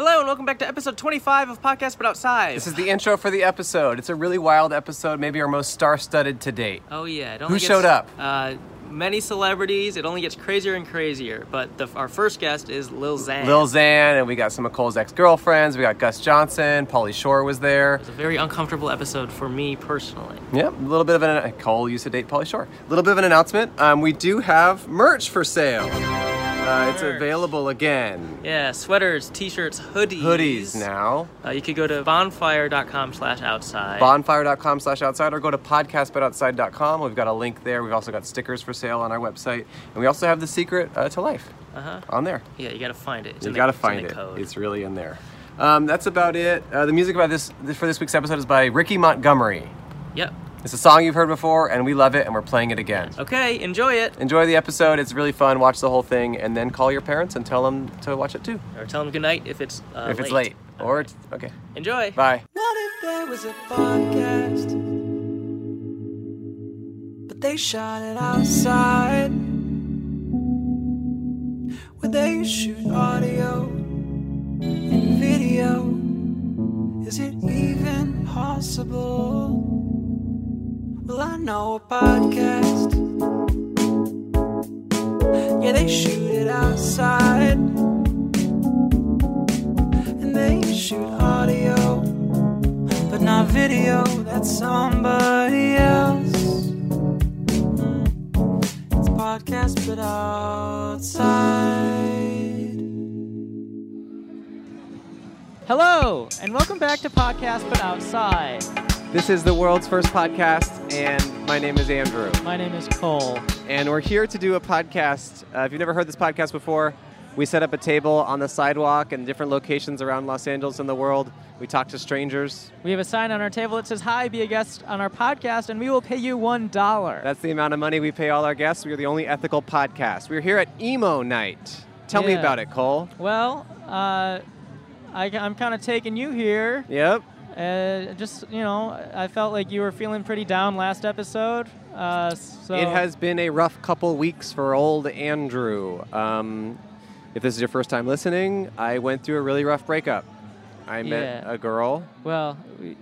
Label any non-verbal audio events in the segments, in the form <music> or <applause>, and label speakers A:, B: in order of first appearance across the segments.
A: welcome back to episode 25 of Podcast But Outside.
B: This is the intro for the episode. It's a really wild episode, maybe our most star-studded to date.
A: oh yeah, it
B: Who showed up?
A: Uh, many celebrities. It only gets crazier and crazier. But the, our first guest is Lil Xan.
B: Lil Xan, and we got some of Cole's ex-girlfriends. We got Gus Johnson. Pauly Shore was there.
A: It's a very uncomfortable episode for me personally.
B: Yep, a little bit of an uh, Cole used to date Polly Shore. A little bit of an announcement. Um, we do have merch for sale. Uh, it's
A: Merch.
B: available again.
A: Yeah, sweaters, t-shirts, hoodies.
B: Hoodies now.
A: Uh, you could go to bonfire.com slash outside.
B: Bonfire.com slash outside or go to podcastbutoutside.com. We've got a link there. We've also got stickers for sale on our website. And we also have The Secret uh, to Life
A: uh-huh.
B: on there.
A: Yeah, you gotta find it. It's
B: you
A: in the,
B: gotta
A: it's in
B: find
A: the
B: it.
A: Code.
B: It's really in there. Um, that's about it. Uh, the music about this for this week's episode is by Ricky Montgomery.
A: Yep.
B: It's a song you've heard before, and we love it, and we're playing it again.
A: Okay, enjoy it.
B: Enjoy the episode. It's really fun. Watch the whole thing, and then call your parents and tell them to watch it too,
A: Or tell them goodnight if it's uh,
B: if it's late or it's okay.
A: Enjoy.
B: Bye.
C: What if there was a podcast? But they shot it outside. Where they shoot audio and video. Is it even possible? Well, I know a podcast. Yeah, they shoot it outside. And they shoot audio but not video. That's somebody else. It's podcast, but outside.
D: Hello, and welcome back to Podcast But Outside.
B: This is the world's first podcast, and my name is Andrew.
D: My name is Cole.
B: and we're here to do a podcast. Uh, if you've never heard this podcast before, we set up a table on the sidewalk in different locations around Los Angeles and the world. We talk to strangers.
D: We have a sign on our table that says, Hi, be a guest on our podcast, and we will pay you $1.
B: That's the amount of money we pay all our guests. We are the only ethical podcast. We're here at Emo Night. Tell me
D: Yeah.
B: about it, Cole.
D: well, uh, I, am kind of taking you here.
B: Yep.
D: Uh, just, you know, I felt like you were feeling pretty down last episode. Uh, so
B: It has been a rough couple weeks for old Andrew. Um, if this is your first time listening, I went through a really rough breakup. I met
D: Yeah.
B: a girl,
D: Well, we,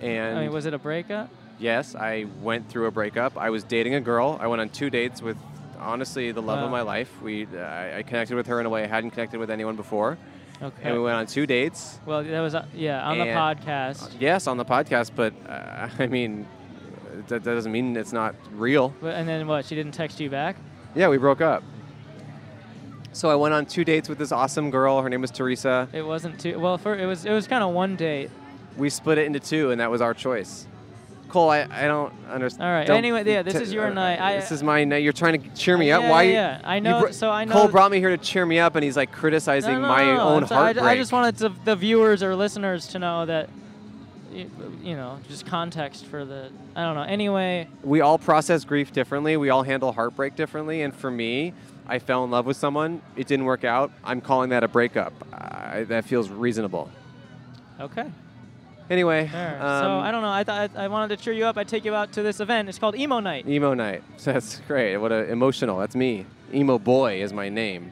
B: and
D: I mean, was it a breakup?
B: Yes, I went through a breakup. I was dating a girl. I went on two dates with, honestly, the love
D: Wow.
B: of my life. We, I, I connected with her in a way I hadn't connected with anyone before,
D: Okay.
B: and we went on two dates.
D: well, that was, uh, yeah, on the
B: And-
D: podcast.
B: Yes, on the podcast, but uh, <laughs> I mean, that, that doesn't mean it's not real.
D: But- And then what? She didn't text you back?
B: Yeah, we broke up. So I went on two dates with this awesome girl. Her name was Teresa.
D: It wasn't too well. For it was it was kind of one date.
B: We split it into two, and that was our choice. Cole, I, I don't understand.
D: All right, anyway, yeah, this is your night. I-
B: this is my night. You're trying to cheer me up.
D: Yeah,
B: Why?
D: yeah, yeah. I
B: you
D: know-
B: bro-
D: so I know
B: Cole
D: th-
B: brought me here to cheer me up, and he's like criticizing my own
D: it's- I-
B: heartbreak.
D: I, just wanted to, the viewers or listeners to know that, y- you know, just context for the. I don't know. Anyway,
B: we all process grief differently. We all handle heartbreak differently. And for me, I fell in love with someone. It didn't work out. I'm calling that a breakup. I, that feels reasonable.
D: okay.
B: Anyway,
D: There. so
B: um,
D: I don't know. I thought I, I wanted to cheer you up. I would take you out to this event. It's called Emo Night.
B: Emo night. <laughs> So that's great. What a emotional. That's me. Emo boy is my name.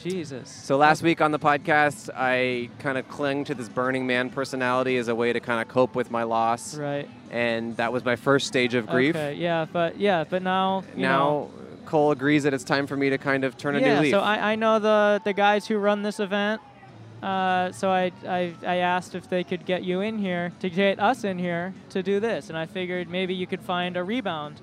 D: Jesus.
B: So last week on the podcast, I kind of clung to this Burning Man personality as a way to kind of cope with my loss,
D: Right.
B: and that was my first stage of grief.
D: Okay. Yeah. But yeah. But now. You Know,
B: Now Cole agrees that it's time for me to kind of turn a
D: yeah,
B: new leaf.
D: so I, I know the, the guys who run this event. Uh, so I, I, I asked if they could get you in here, to get us in here to do this. And I figured maybe you could find a rebound.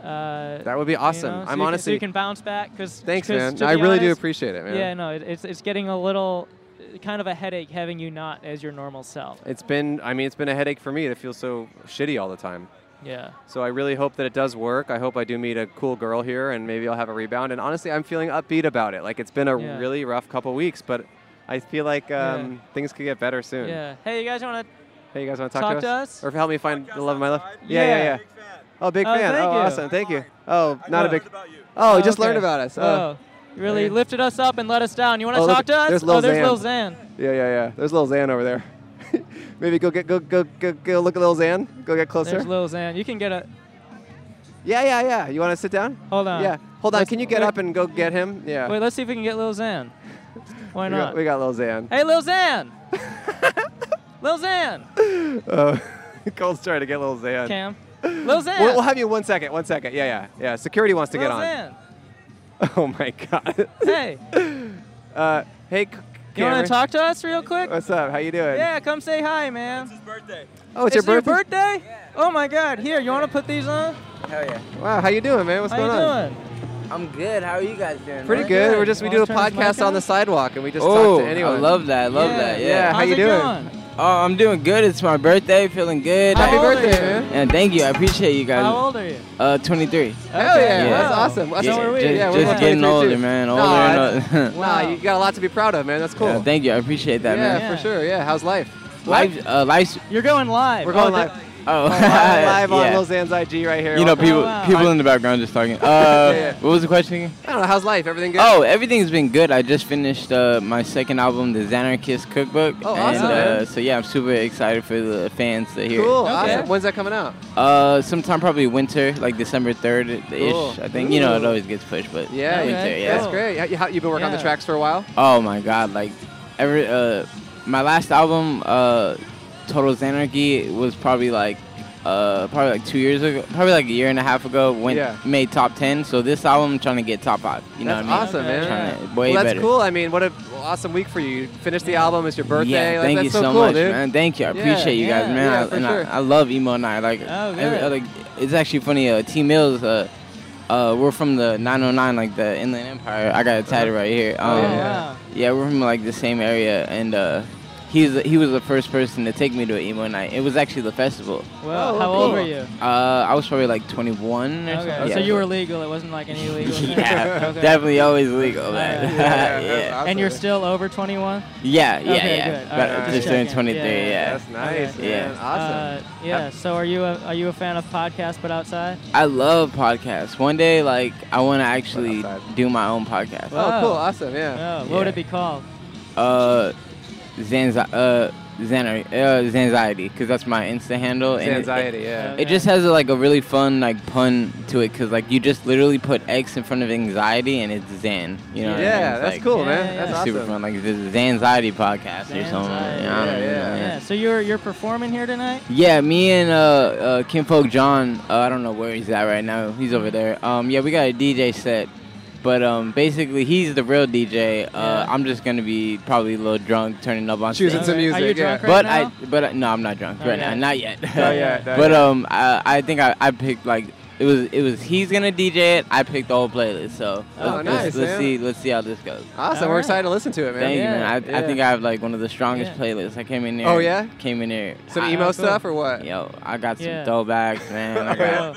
D: Uh,
B: that would be awesome.
D: You know, so you can-
B: I'm
D: so
B: honestly
D: you can bounce back because
B: thanks, man. No, I really do appreciate it, man.
D: Yeah, no, it, it's it's getting a little uh, kind of a headache having you not as your normal self.
B: It's been, I mean, it's been a headache for me to feel so shitty all the time.
D: Yeah,
B: So I really hope that it does work. I hope I do meet a cool girl here, and maybe I'll have a rebound. And honestly, I'm feeling upbeat about it. Like it's been a
D: Yeah.
B: really rough couple weeks, but I feel like um,
D: Yeah.
B: things could get better soon.
D: yeah. Hey, you guys want to?
B: Hey, you guys want to talk,
D: Talk to us?
B: Or help me find the love of my life?
E: Podcast
B: Yeah, yeah,
D: Outside.
B: yeah. Oh, big
D: Oh,
B: fan.
D: thank
B: oh,
D: you.
B: awesome. Thank you. Oh,
E: I
B: not a
E: learned
B: big.
E: about you.
B: Oh, he just learned about us. Oh.
D: Oh, you really
B: okay.
D: lifted us up and let us down. You want
B: Oh,
D: to
B: look,
D: talk to us?
B: there's Lil
D: oh, there's
B: Xan.
D: Lil Xan.
B: Yeah, yeah, yeah. There's little Zan over there. <laughs> Maybe go get go go go go look at little Zan. Go get closer.
D: There's Lil Xan. You can get a.
B: yeah, yeah, yeah. You want to sit down?
D: Hold on.
B: Yeah. Hold on.
D: Let's-
B: Can you get
D: wait-
B: up and go get him? Yeah.
D: Wait, let's see if we can get Lil Xan. Why
B: We got,
D: not?
B: we got Lil Xan.
D: Hey, Lil Xan! <laughs> Lil Xan!
B: <laughs> Uh, Cole's trying to get Lil Xan.
D: Cam. Lil Xan!
B: We'll, we'll have you in one second. One second. Yeah, yeah, yeah. Security wants to
D: Lil
B: get on.
D: Xan.
B: <laughs> Oh my god. <laughs>
D: Hey,
B: Uh, hey, C-
D: you want
B: Cameron.
D: to talk to us real quick?
B: What's up? How you doing?
D: Yeah, come say hi, man.
B: Oh, it's,
D: It's
B: your birthday.
D: birthday? Oh my God! Here, you want to put these on?
E: Hell yeah.
B: Wow, how you doing, man? What's
D: How
B: going
D: you
B: on?
D: doing?
E: I'm good. How are you guys doing?
B: Pretty
E: man?
B: good.
D: good.
B: We're just we
D: You
B: do a
D: wanna turn this
B: podcast
D: mic
B: on the
D: on?
B: sidewalk and we just
E: Oh,
B: talk to anyone.
E: I love that. I love that.
B: yeah.
E: Yeah.
B: how
D: How's
B: you
D: it
B: doing?
D: Going?
E: Oh, I'm doing good. It's my birthday. Feeling good.
B: Happy
D: How old are
B: birthday,
D: you?
B: man.
E: And thank you. I appreciate you guys.
D: How old are you?
E: Uh, 23.
B: Hell
D: Okay,
B: yeah,
E: Yeah.
B: that's
D: wow.
B: awesome. That's-
E: yeah,
D: so are we.
E: just,
D: Yeah,
B: we're
E: just
B: both
E: getting
B: 23
E: older,
B: too.
E: man.
B: No,
E: Older
B: it's- <laughs>
E: and older. <laughs>
B: Wow,
D: Wow.
B: you got a lot to be proud of, man. That's cool.
E: Yeah, thank you. I appreciate that,
B: yeah,
E: man.
B: for
D: Yeah.
B: sure. Yeah, how's life?
E: Life, uh, life's.
D: You're going live.
B: We're going
D: Oh,
B: live.
E: Oh, <laughs>
B: We're live on
E: yeah.
B: Lil Xan's IG right here.
E: You know,
B: Welcome.
E: people,
D: Oh, wow.
E: people in the background just talking. Uh,
B: yeah.
E: What was the question again?
B: I don't know. How's life? Everything good?
E: Oh, everything's been good. I just finished uh, my second album, The Xanarchist Cookbook.
B: Oh,
E: And,
B: awesome, man.
E: uh, so yeah, I'm super excited for the fans to hear. it.
B: cool.
D: Okay.
B: Awesome. When's that coming out?
E: Uh, sometime probably winter, like December third ish.
B: Cool.
E: I think you know it
B: Ooh.
E: always gets pushed, but
B: Yeah,
E: winter.
D: Okay,
E: Yeah.
B: That's
D: cool.
B: great. How, you- how, you've been working on the
D: Yeah.
B: tracks for a while?
E: Oh my God! Like every uh, my last album, uh, Total Xanarchy was probably like uh probably like two years ago, probably like a year and a half ago. Went
B: Yeah.
E: made top ten. So this album I'm trying to get top five. You know
B: that's
E: what I mean?
B: awesome,
D: Okay,
B: man.
D: yeah.
E: Trying to, way
B: well, that's
E: better.
B: cool. I mean, what a well, awesome week for you. You finished the album. It's your birthday.
E: Yeah,
B: Like,
E: thank
B: that's
E: you
B: so,
E: so,
B: cool,
E: much,
B: dude.
E: man. Thank you. I
B: Yeah,
E: appreciate you guys,
D: yeah,
E: man.
B: yeah,
E: I,
B: for
E: and
B: sure.
E: I, I love emo night. Like,
D: Oh,
E: every
D: good.
E: other, it's actually funny. Uh, T Mills, uh, uh, we're from the 909, like the Inland Empire. I got it tatted right here. Um,
D: Oh,
B: Yeah.
D: wow.
E: yeah, we're from like the same area, and uh, he's he was the first person to take me to an emo night. It was actually the festival.
D: Well,
B: Oh,
D: how old
B: cool.
D: were you?
E: Uh, I was probably like 21 or
D: Okay, Oh,
E: something.
D: so
E: Yeah,
D: you were legal. It wasn't like any
E: <laughs>
D: illegal. thing.
E: yeah,
D: Okay.
E: definitely always legal, man. <laughs>
B: Yeah,
E: Yeah,
B: that's
E: yeah,
B: awesome.
D: And you're still over 21?
E: yeah, yeah.
D: Okay, good.
E: But
D: Alright,
B: just
E: just turned
D: checking.
E: 23.
D: Yeah, yeah,
E: yeah.
B: That's nice,
D: Okay.
B: man.
E: Yeah.
B: Awesome.
D: Uh, yeah. So are you a, are you a fan of podcasts but outside?
E: I love podcasts. One day, like, I want to actually
B: Outside.
E: do my own podcast.
D: Well-
B: oh, cool.
D: oh.
B: Awesome.
D: Oh,
B: Yeah.
D: what would
E: Yeah.
D: it be called?
E: Uh, Zanzi- uh, Xanar- uh, Zanxiety, because that's my Insta handle.
B: It's
E: and it-
B: anxiety.
E: It,
B: yeah.
E: it just has, like, a really fun, like, pun to it, because, like, you just literally put X in front of anxiety, and it's Zan. You know what I mean?
B: yeah,
E: It's,
B: that's
E: like,
B: cool,
D: Yeah,
B: man.
D: yeah,
B: That's
E: it's
B: awesome.
E: super fun. Like, the Zanxiety podcast or something.
D: Zanxiety.
E: Yeah, I don't
B: Yeah,
E: know,
B: yeah.
D: Yeah. So you're you're performing here tonight?
E: Yeah, me and uh, uh, Kinfolk John. Uh, I don't know where he's at right now. He's over there. Um, yeah, we got a DJ set, but um, basically he's the real DJ. Uh,
D: Yeah.
E: I'm just gonna be probably a little drunk, turning up on stage.
B: Choosing It's some
D: Okay.
B: music,
D: Are you
B: yeah.
D: drunk right
E: but
D: now?
E: I, but I, no, I'm not drunk
D: Oh,
E: right
D: yeah.
E: now. Not yet.
B: Oh,
E: <laughs>
B: yeah, no,
E: but
B: yeah.
E: um, I, I think I, I picked like it was it was he's gonna DJ it. I picked the whole playlist. So
B: Oh,
E: let's,
B: nice,
E: let's, let's
B: man.
E: see let's see how this goes.
B: awesome. We're
D: Alright.
B: excited to listen to it, man.
E: Thank
D: Yeah.
E: you, man. I, I
B: Yeah.
E: think I have like one of the strongest
D: Yeah.
E: playlists. I came in there.
B: Oh, yeah?
E: Came in there.
B: Some
E: I-
B: emo
D: cool.
B: stuff or what?
E: Yo, I got some
D: Yeah.
E: throwbacks, man. I got,
D: Oh,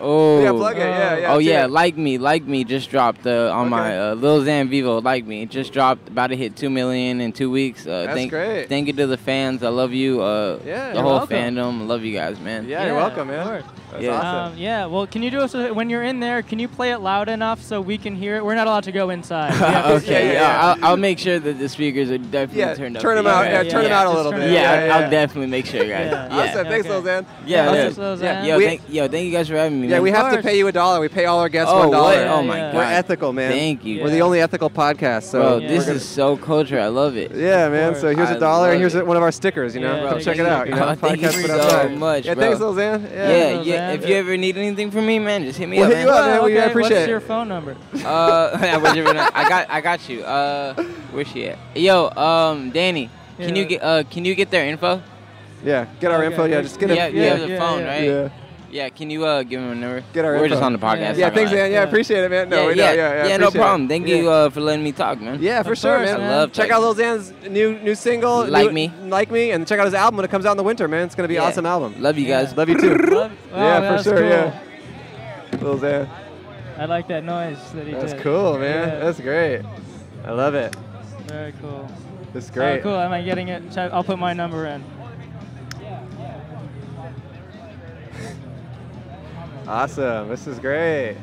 E: oh,
B: Yeah, plug it. Yeah,
D: Oh.
B: yeah.
E: oh
B: do
E: yeah,
B: it.
E: like me, like me. Just dropped uh, on my
B: Okay.
E: uh, Lil Xan Vivo, like me. Just dropped, about to hit two million in two weeks. Uh,
B: That's
E: thank,
B: great.
E: Thank you to the fans. I love you. Uh,
B: Yeah,
E: the
B: you're
E: whole
D: welcome.
E: fandom. Love you guys, man.
B: Yeah, you're
D: Yeah,
B: welcome,
D: of
B: man.
D: course.
B: That's
E: Yeah.
D: Um,
B: awesome.
D: yeah. Well, can you do us a, when you're in there? Can you play it loud enough so we can hear it? We're not allowed to
E: <laughs>
D: go inside. We have to
E: Uh, okay, yeah,
B: yeah, yeah.
E: I'll, I'll make sure that the speakers are definitely
B: yeah,
E: turned up.
B: turn
E: for
B: them
E: you
B: out.
E: guys.
B: Yeah,
D: yeah,
B: turn them
D: yeah.
B: out a little
D: Just
B: bit.
D: turn 'em
E: Yeah,
D: out.
E: I'll-
B: yeah,
E: I'll
B: yeah.
E: definitely make sure, guys.
D: Yeah.
E: Yeah.
B: Awesome. Thanks,
D: Okay.
B: Lil Xan.
E: Yeah,
D: Awesome,
E: yeah.
D: Lil
B: Yeah,
D: Xan.
E: Yo,
B: We-
E: thank, yo, thank you guys for having me.
B: Yeah,
E: man.
B: we have to
D: course.
B: pay you a dollar. We pay all our guests
E: Oh,
B: one dollar.
E: what? Oh
D: Yeah,
E: my
D: yeah.
E: god.
B: We're ethical, man.
E: Thank you.
B: We're the only ethical podcast. So
E: Bro,
D: Yeah.
E: this
D: We're
E: is so culture. I love it.
B: Yeah, man.
D: course.
B: So here's a
E: I
B: dollar, and
E: love
B: here's
E: it.
B: one of our stickers. You know,
D: Yeah,
B: Come
D: bro,
B: check
D: thank
B: it
E: <laughs>
D: you.
B: out. You know,
E: Oh, thank you
B: podcast put
E: so
B: outside.
E: much,
B: Yeah,
E: bro.
B: thanks, Lil Xan.
E: Yeah,
B: Yeah.
E: yeah.
D: Those ads.
E: If you ever need anything from me, man, just hit me
B: We'll
E: up.
B: hit you up, man.
D: Well,
B: We
D: okay,
B: appreciate
D: What's
B: it.
D: your phone number?
E: <laughs> Uh, <laughs> I was even- I got, I got you. Uh, where's she at? Yo, um, Danny, can
D: Yeah.
E: you get, uh, can you get their info?
B: Yeah. Get our
D: Okay,
B: info. Yeah,
D: thanks.
B: just get
E: yeah,
B: a
E: you
D: yeah,
E: have the
D: yeah,
E: phone,
D: yeah.
E: right? Yeah.
B: yeah.
E: Can you uh give them a number?
B: Get our
E: We're just
B: info.
E: on the podcast.
B: Yeah,
E: talking
B: thanks,
E: about it.
B: man. Yeah, I
D: Yeah.
B: appreciate it, man. No,
E: yeah,
B: we know.
E: yeah,
B: yeah,
E: yeah, no
B: appreciate it.
E: problem. Thank you
B: Yeah.
E: uh, for letting me talk, man.
B: Yeah, for
D: Of
B: sure,
D: course.
B: man.
E: I love
B: check
E: Tyga.
B: out Lil Xan's new new single,
E: Like
B: new-
E: Me.
B: Like Me, and check out his album when it comes out in the winter, man. It's gonna be
E: Yeah.
B: an awesome album.
E: Love you guys.
B: Love you too.
D: Love- oh, wow,
B: yeah,
D: that
B: for
D: was
B: sure.
D: cool.
B: Yeah, Lil Xan.
D: I like that noise that he
B: That's
D: did.
B: cool, man.
D: Yeah,
B: That's great. I love it.
D: very cool.
B: It's great.
D: Oh, cool. Am I getting it? Should I- I'll put my number in.
B: Awesome. This is great.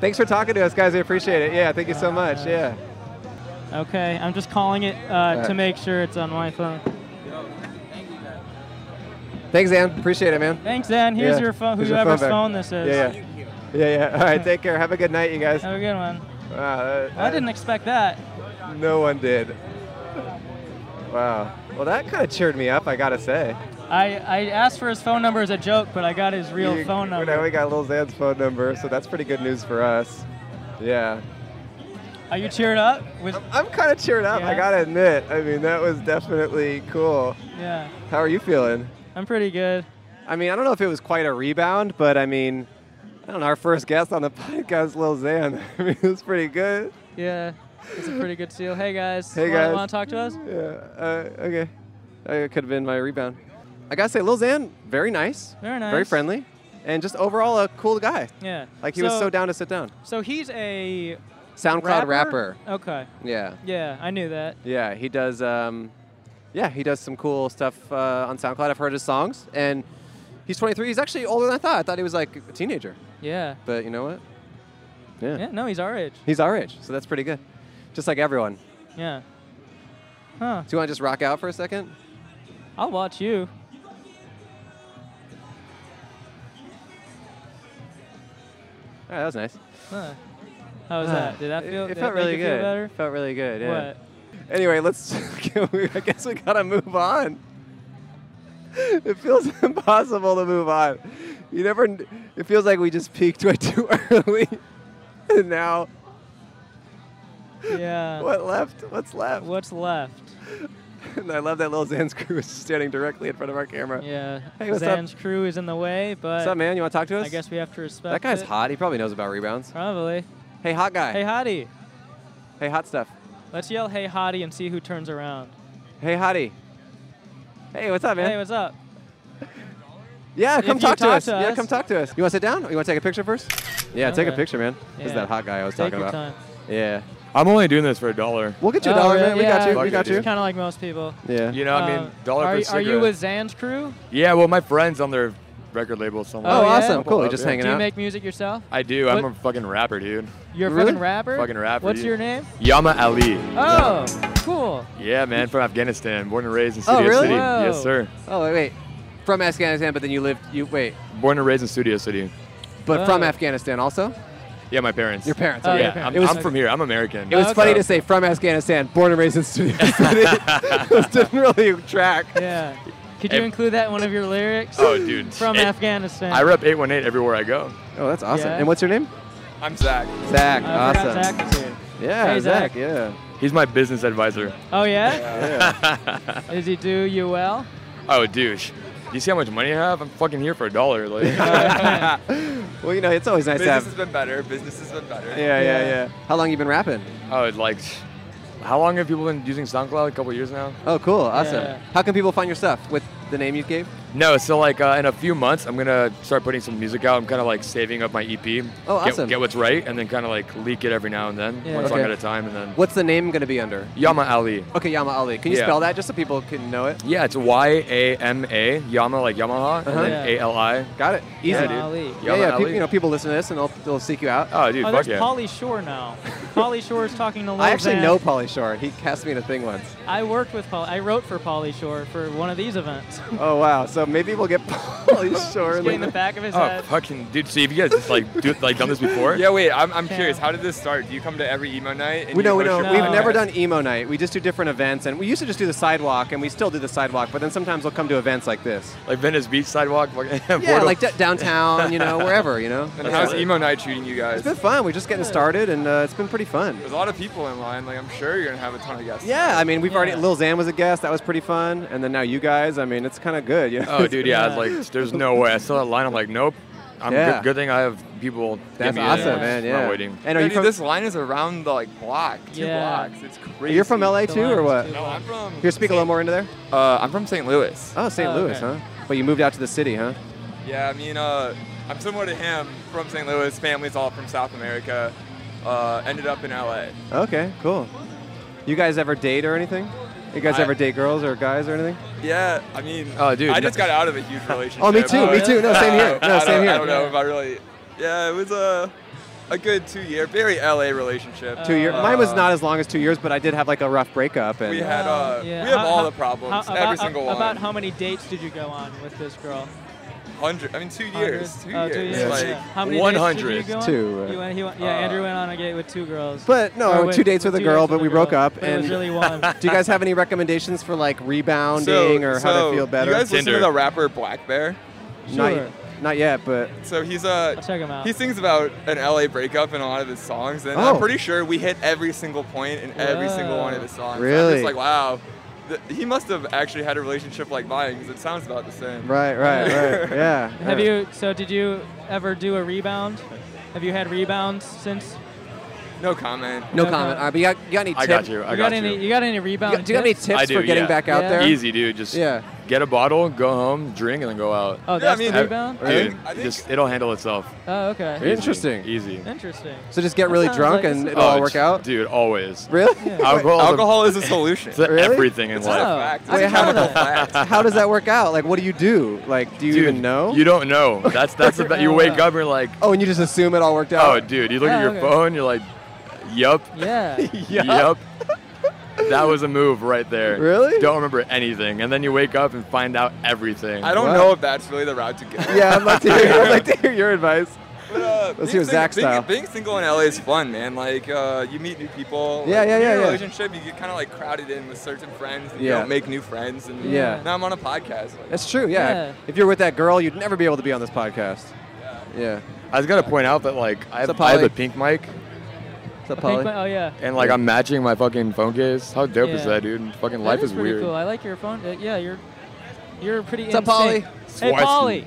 B: Thanks for talking to us, guys. We appreciate it. Yeah, thank you so much. Yeah.
D: Okay, I'm just calling it uh, to
B: Alright.
D: make sure it's on my phone.
B: Thanks, Ann. Appreciate it, man.
D: Thanks, Dan. Here's
B: Yeah,
D: your phone.
B: here's your phone
D: Whoever's
B: back.
D: phone, this is.
B: Yeah, yeah. <laughs> Yeah, yeah. All right. Take care. Have a good night, you guys.
D: Have a good one.
B: Wow, that-
D: I didn't expect that.
B: that- No one did. Wow. Well, that kind of cheered me up, I gotta say.
D: I, I asked for his phone number as a joke, but I got his real
B: You-
D: phone number.
B: Now we got Lil Xan's phone number, so that's pretty good news for us. Yeah.
D: Are you cheered up? Was,
B: I'm, I'm kind of cheered up, I
D: Yeah.
B: gotta admit. I mean, that was definitely cool.
D: yeah,
B: How are you feeling?
D: I'm pretty good.
B: I mean, I don't know if it was quite a rebound, but I mean, I don't know. Our first guest on the <laughs> podcast, Lil Xan. <laughs> I mean, it was pretty good.
D: Yeah, it's a pretty good seal. Hey guys,
B: Hey, guys.
D: want to talk to us?
B: Yeah. Uh, okay. Uh, It could have been my rebound. I gotta say, Lil Xan, very nice.
D: Very nice.
B: Very friendly. And just overall, a cool guy.
D: Yeah.
B: Like, he was so down to sit down.
D: So he's a
B: SoundCloud
D: rapper. Okay.
B: Yeah.
D: Yeah, I knew that.
B: Yeah, he does. Um, yeah, he does some cool stuff uh, on SoundCloud. I've heard his songs, and he's 23. He's actually older than I thought. I thought he was like a teenager,
D: Yeah.
B: but you know what? Yeah,
D: Yeah. No, he's our age.
B: he's our age, so that's pretty good. Just like everyone. Do
D: Yeah. Huh.
B: you want to just rock out for a second?
D: I'll watch you.
B: All right, that was nice.
D: Huh. How was that? Did that feel?
B: Uh, It,
D: did that
B: felt
D: make
B: really
D: you
B: good.
D: Feel better?
B: Felt really good. Yeah.
D: What?
B: Anyway, let's. <laughs> can we- I guess we gotta move on. It feels <laughs> impossible to move on. You never. kn- It feels like we just peaked way <laughs> too early, and now
D: Yeah.
B: <laughs> What left? What's left?
D: What's left?
B: And I love that little Zan's crew is standing directly in front of our camera.
D: Yeah.
B: Hey, what's up?
D: Uh, Zan's crew is in the way, but
B: What's up, man? You want to talk to us?
D: I guess we have to respect.
B: that guy's
D: it.
B: hot. He probably knows about rebounds.
D: Probably.
B: Hey, hot guy.
D: Hey, hottie.
B: Hey, hot stuff.
D: Let's yell "Hey, hottie" and see who turns around.
B: Hey, hottie. Hey, what's up, man?
D: Hey, what's up?
B: yeah, come
D: you
B: talk, to,
D: talk
B: us.
D: to
B: Yeah,
D: us-
B: come talk to us. You want to sit down? Or you want to take a picture first? Yeah, take a
D: Okay.
B: picture, man. This is
D: Yeah.
B: that hot guy I was
D: Take
B: talking
D: your time.
B: about. Yeah.
F: I'm only doing this for a dollar.
B: We'll get you a
D: Oh,
B: dollar,
D: really?
B: man. We got
D: Yeah.
B: you.
F: Fuck
B: we
F: it,
B: got you.
F: dude.
D: Kind of like most people.
B: Yeah.
F: You know, I mean,
D: Um,
F: dollar
D: are,
F: for a
D: you- are
F: cigarette.
D: you with Zan's crew?
F: Yeah, well, my friend's on their record label somewhere.
B: Oh,
D: Oh, yeah?
B: awesome. Cool. You're
F: Up,
B: just
F: yeah.
B: hanging
D: Do you
B: out.
D: make music yourself?
F: I do. I'm
D: What-
F: a fucking rapper, dude.
D: You're a
B: Really?
D: fucking rapper.
F: Fucking rapper,
D: What's
F: dude.
D: your name?
F: Yama Ali.
D: Oh, cool.
F: Yeah, man, from Afghanistan, born and raised in
B: Oh,
F: Studio
B: really?
F: City.
D: Whoa.
F: Yes, sir.
B: oh, wait, wait. From Afghanistan, but then you lived. You wait,
F: Born and raised in Studio City.
B: but from
D: Oh.
B: Afghanistan also.
F: Yeah, my parents.
B: Your parents.
D: Oh,
B: okay.
D: your
F: Yeah, I'm,
B: It was
F: I'm from here. I'm American.
B: It was
D: Okay.
B: funny to say from Afghanistan, born and raised in Studio
D: <laughs>
B: City. <laughs> this <laughs> didn't really track.
D: Yeah. Could you
F: Hey.
D: include that in one of your lyrics?
F: Oh, dude.
D: From
F: It-
D: Afghanistan.
F: I rep 818 everywhere I go.
B: Oh, that's awesome.
D: Yeah.
B: And what's your name?
F: I'm Zach.
D: I
B: Zach.
D: forgot
B: awesome.
D: Zach was here.
B: Yeah,
D: Hey,
B: Zach.
D: Zach.
B: Yeah.
F: He's my business advisor.
D: Oh yeah?
F: <laughs>
D: Does he do you well?
F: oh, douche. You see how much money I have? I'm fucking here for a dollar.
D: <laughs> Oh,
F: Like,
B: <laughs> Well, you know, it's always nice to have.
F: been better. Business has been better.
B: Yeah, yeah,
D: Yeah.
B: yeah. How long you been rapping?
F: Oh, it's like, how long have people been using SoundCloud? A couple years now.
B: Oh, cool. Awesome.
D: Yeah.
B: How can people find your stuff with the name you gave?
F: No, so like uh, in a few months, I'm gonna start putting some music out. I'm kind of like saving up my EP.
B: Oh,
F: get,
B: awesome.
F: Get what's right, and then kind of like leak it every now and then,
D: Yeah.
F: one song
B: Okay.
F: at a time, and then
B: What's the name going to be under?
F: Yama Ali.
B: Okay, Yama Ali. Can you
F: Yeah.
B: spell that just so people can know it?
F: Yeah, it's Y A M A Yama like Yamaha, and
B: Uh-huh.
F: then
D: Yeah.
F: A L I.
B: Got it. Easy.
F: Yeah,
D: Yama
F: dude.
D: Ali. Yeah,
B: yeah,
F: Yama
B: yeah.
F: Ali.
B: People, you know, people listen to this and they'll, they'll seek you out.
F: oh, dude,
D: oh,
F: fuck
D: there's
F: yeah.
D: Polly Shore
G: <laughs>
D: now. Polly Shore's talking to Lil
B: I actually
D: Xan.
B: know Polly Shore. He cast me in a thing once.
D: I worked with Polly. I wrote for Polly Shore for one of these events.
B: Oh wow. So maybe we'll
D: <laughs>
B: get <laughs> Polly Shore.
D: Just getting the back of his
F: Oh
D: head.
F: fucking dude! See if you guys just like do, like
B: <laughs>
F: done this before.
G: Yeah, wait. I'm, I'm
D: Yeah.
G: curious. How did this start? Do you come to every emo night? And
B: We
G: you
B: know, we
G: host
B: know.
G: your
D: No.
B: We've
G: podcast?
B: never done emo night. We just do different events, and we used to just do the sidewalk, and we still do the sidewalk. But then sometimes we'll come to events like this.
F: Like Venice Beach sidewalk. fucking-
B: Yeah,
F: Portal.
B: like d- downtown, you know, wherever, you know.
G: And
B: Yeah.
G: how's emo night treating you guys?
B: It's been fun. We're just getting started, and uh, it's been pretty fun.
G: There's a lot of people in line. Like I'm sure you're gonna have a ton of guests.
B: Yeah, I mean, we've already
D: Yeah.
B: Lil Xan was a guest. That was pretty fun, and then now you guys. I mean, it's kind of good. You know?
F: Oh, dude, yeah. I was
D: Yeah.
F: like, <laughs> there's no way. I saw that line. I'm like, nope. I'm
B: Yeah.
F: good, good thing I have people. get
B: That's
F: me
B: awesome,
F: in.
B: man.
F: I'm
B: Yeah.
F: not waiting.
B: And are
G: Dude,
B: you from?
G: this line is around the like block, two
D: Yeah.
G: blocks. It's crazy.
B: You're from LA too, or what?
G: No, I'm from.
B: Here, speak a little more into there.
G: Uh, I'm from St. Louis.
B: Oh, St.
D: Oh,
B: Louis, huh?
D: okay.
B: But you moved out to the city, huh?
G: Yeah, I mean, uh, I'm similar to him. From St. Louis, family's all from South America. Uh, ended up in LA.
B: Okay, cool. You guys ever date or anything? You guys
G: I-
B: ever date girls or guys or anything?
G: Yeah, I mean,
F: Oh, dude,
G: I
F: no-
G: just got out of a huge relationship.
B: Oh, me too.
D: Oh,
B: me
D: yeah.
B: too. No, same here.
G: I
B: No,
G: don't-
B: same
G: I
B: here.
G: don't know if I really. Yeah, it was a a good two year, very LA relationship.
B: Two years. Mine was
G: Uh,
B: not as long as two years, but I did have like a rough breakup. And
G: We had uh,
D: <laughs> Yeah.
G: we have
D: How-
G: all
D: how-
G: the problems,
D: how-
G: every
D: about-
G: single
D: About
G: one.
D: how many dates did you go on with this girl?
G: hundred. I mean, two
D: Hundred?
G: years. Two
D: Oh,
G: years.
D: two years.
G: Like,
D: yeah. How many dates did you
F: 100.
D: go on?
B: Two, uh,
D: You went, he went, yeah,
G: uh,
D: Andrew went on a date with two girls.
B: But, no,
D: Or
B: I went two dates with a
D: two
B: girl,
D: dates with
B: but
D: a
B: we broke
D: girl.
B: up,
D: But it was
B: and-
D: really one.
B: <laughs> Do you guys have any recommendations for like rebounding or how
G: Uh, so
B: to feel better?
G: You guys listen to
F: Tinder.
G: the rapper Black Bear?
B: not,
D: Sure.
B: not yet,
G: <laughs>
B: but
G: So he's a
D: I'll check him out.
G: He sings about an LA breakup in a lot of his songs, and
B: Oh.
G: I'm pretty sure we hit every single point in every single one of his songs. I'm
B: Really?
G: just like, wow, th- he must have actually had a relationship like mine because it sounds about the same.
B: right, right,
G: <laughs>
B: right, yeah.
D: Have you? So did you ever do a rebound? Have you had rebounds since?
G: No comment.
B: No
D: Okay.
B: comment. All right, but you got, you got any
F: I
B: tips?
F: got you. I
D: you
F: got,
D: any?
F: you.
D: You got any rebound?
B: do you have any
D: tips?
B: tips
F: I do,
B: for getting
F: yeah.
B: back out
D: Yeah.
B: there?
F: Easy, dude. Just
B: Yeah.
F: get a bottle, go home, drink, and then go out.
D: Oh,
G: Yeah, I
D: that's
G: mean,
D: the
G: I-
D: rebound.
B: I- Really?
F: Dude,
G: I think-
F: just it'll handle itself.
D: Oh, okay.
B: Really? Interesting.
F: Easy.
D: Interesting.
B: So just get really
D: sounds like
B: drunk and
D: it's-
B: it'll
F: Oh,
B: all work
F: it's-
B: out?
F: Dude, always. <laughs>
B: Really?
F: Alcohol,
G: Alcohol
F: <laughs>
G: is a solution.
F: to
B: Really?
F: everything in
G: It's a
F: life.
D: Oh,
G: fact. It's
D: I
G: a
B: didn't know
G: chemical
B: that.
G: fact.
B: How does that work out? Like, what do you do? Like, do you
F: Dude,
B: even know?
F: You don't know. That's that's the
D: I
F: thing. You
D: don't
F: wake
D: know.
F: up and you're like,
B: oh, and you just assume it all worked
F: oh,
B: out?
F: dude. You look at
D: Oh,
F: your
D: okay.
B: <laughs>
F: phone, you're like, yup, <laughs>
D: Yeah.
B: Yup.
F: yup. That was a move right there.
B: Really?
F: Don't remember anything, and then you wake up and find out everything.
G: I don't
B: Wow.
G: know if that's really the route to go.
B: <laughs> yeah, I'd like to hear, I'd like to hear your advice.
G: But, uh, <laughs> being
B: hear
G: sing-
B: Zach's
G: being,
B: style.
G: Being single in LA is fun, man. Like uh, you meet new people.
B: Yeah, yeah,
G: like, when
B: you're yeah,
G: you're In
B: yeah.
G: a relationship, you get kind of like crowded in with certain friends. And You
B: Yeah.
G: don't make new friends, and
B: Yeah.
G: now I'm on a podcast. Like,
B: That's true, yeah.
D: Yeah.
B: If you're with that girl, you'd never be able to be on this podcast. Yeah.
F: I was gonna point out that like I
B: So,
F: have, I have
B: Polly-
F: a pink mic,
B: What's up,
D: Pink
B: Polly?
D: one- Oh yeah.
F: and like I'm matching my fucking phone case. How dope is
D: Yeah.
F: that, dude? Fucking life
D: that is,
F: is,
D: pretty
F: weird.
D: cool. I like your phone. uh, yeah, you're you're pretty.
B: What's up,
D: in sync. Hey,
F: Swarovski.
D: Polly.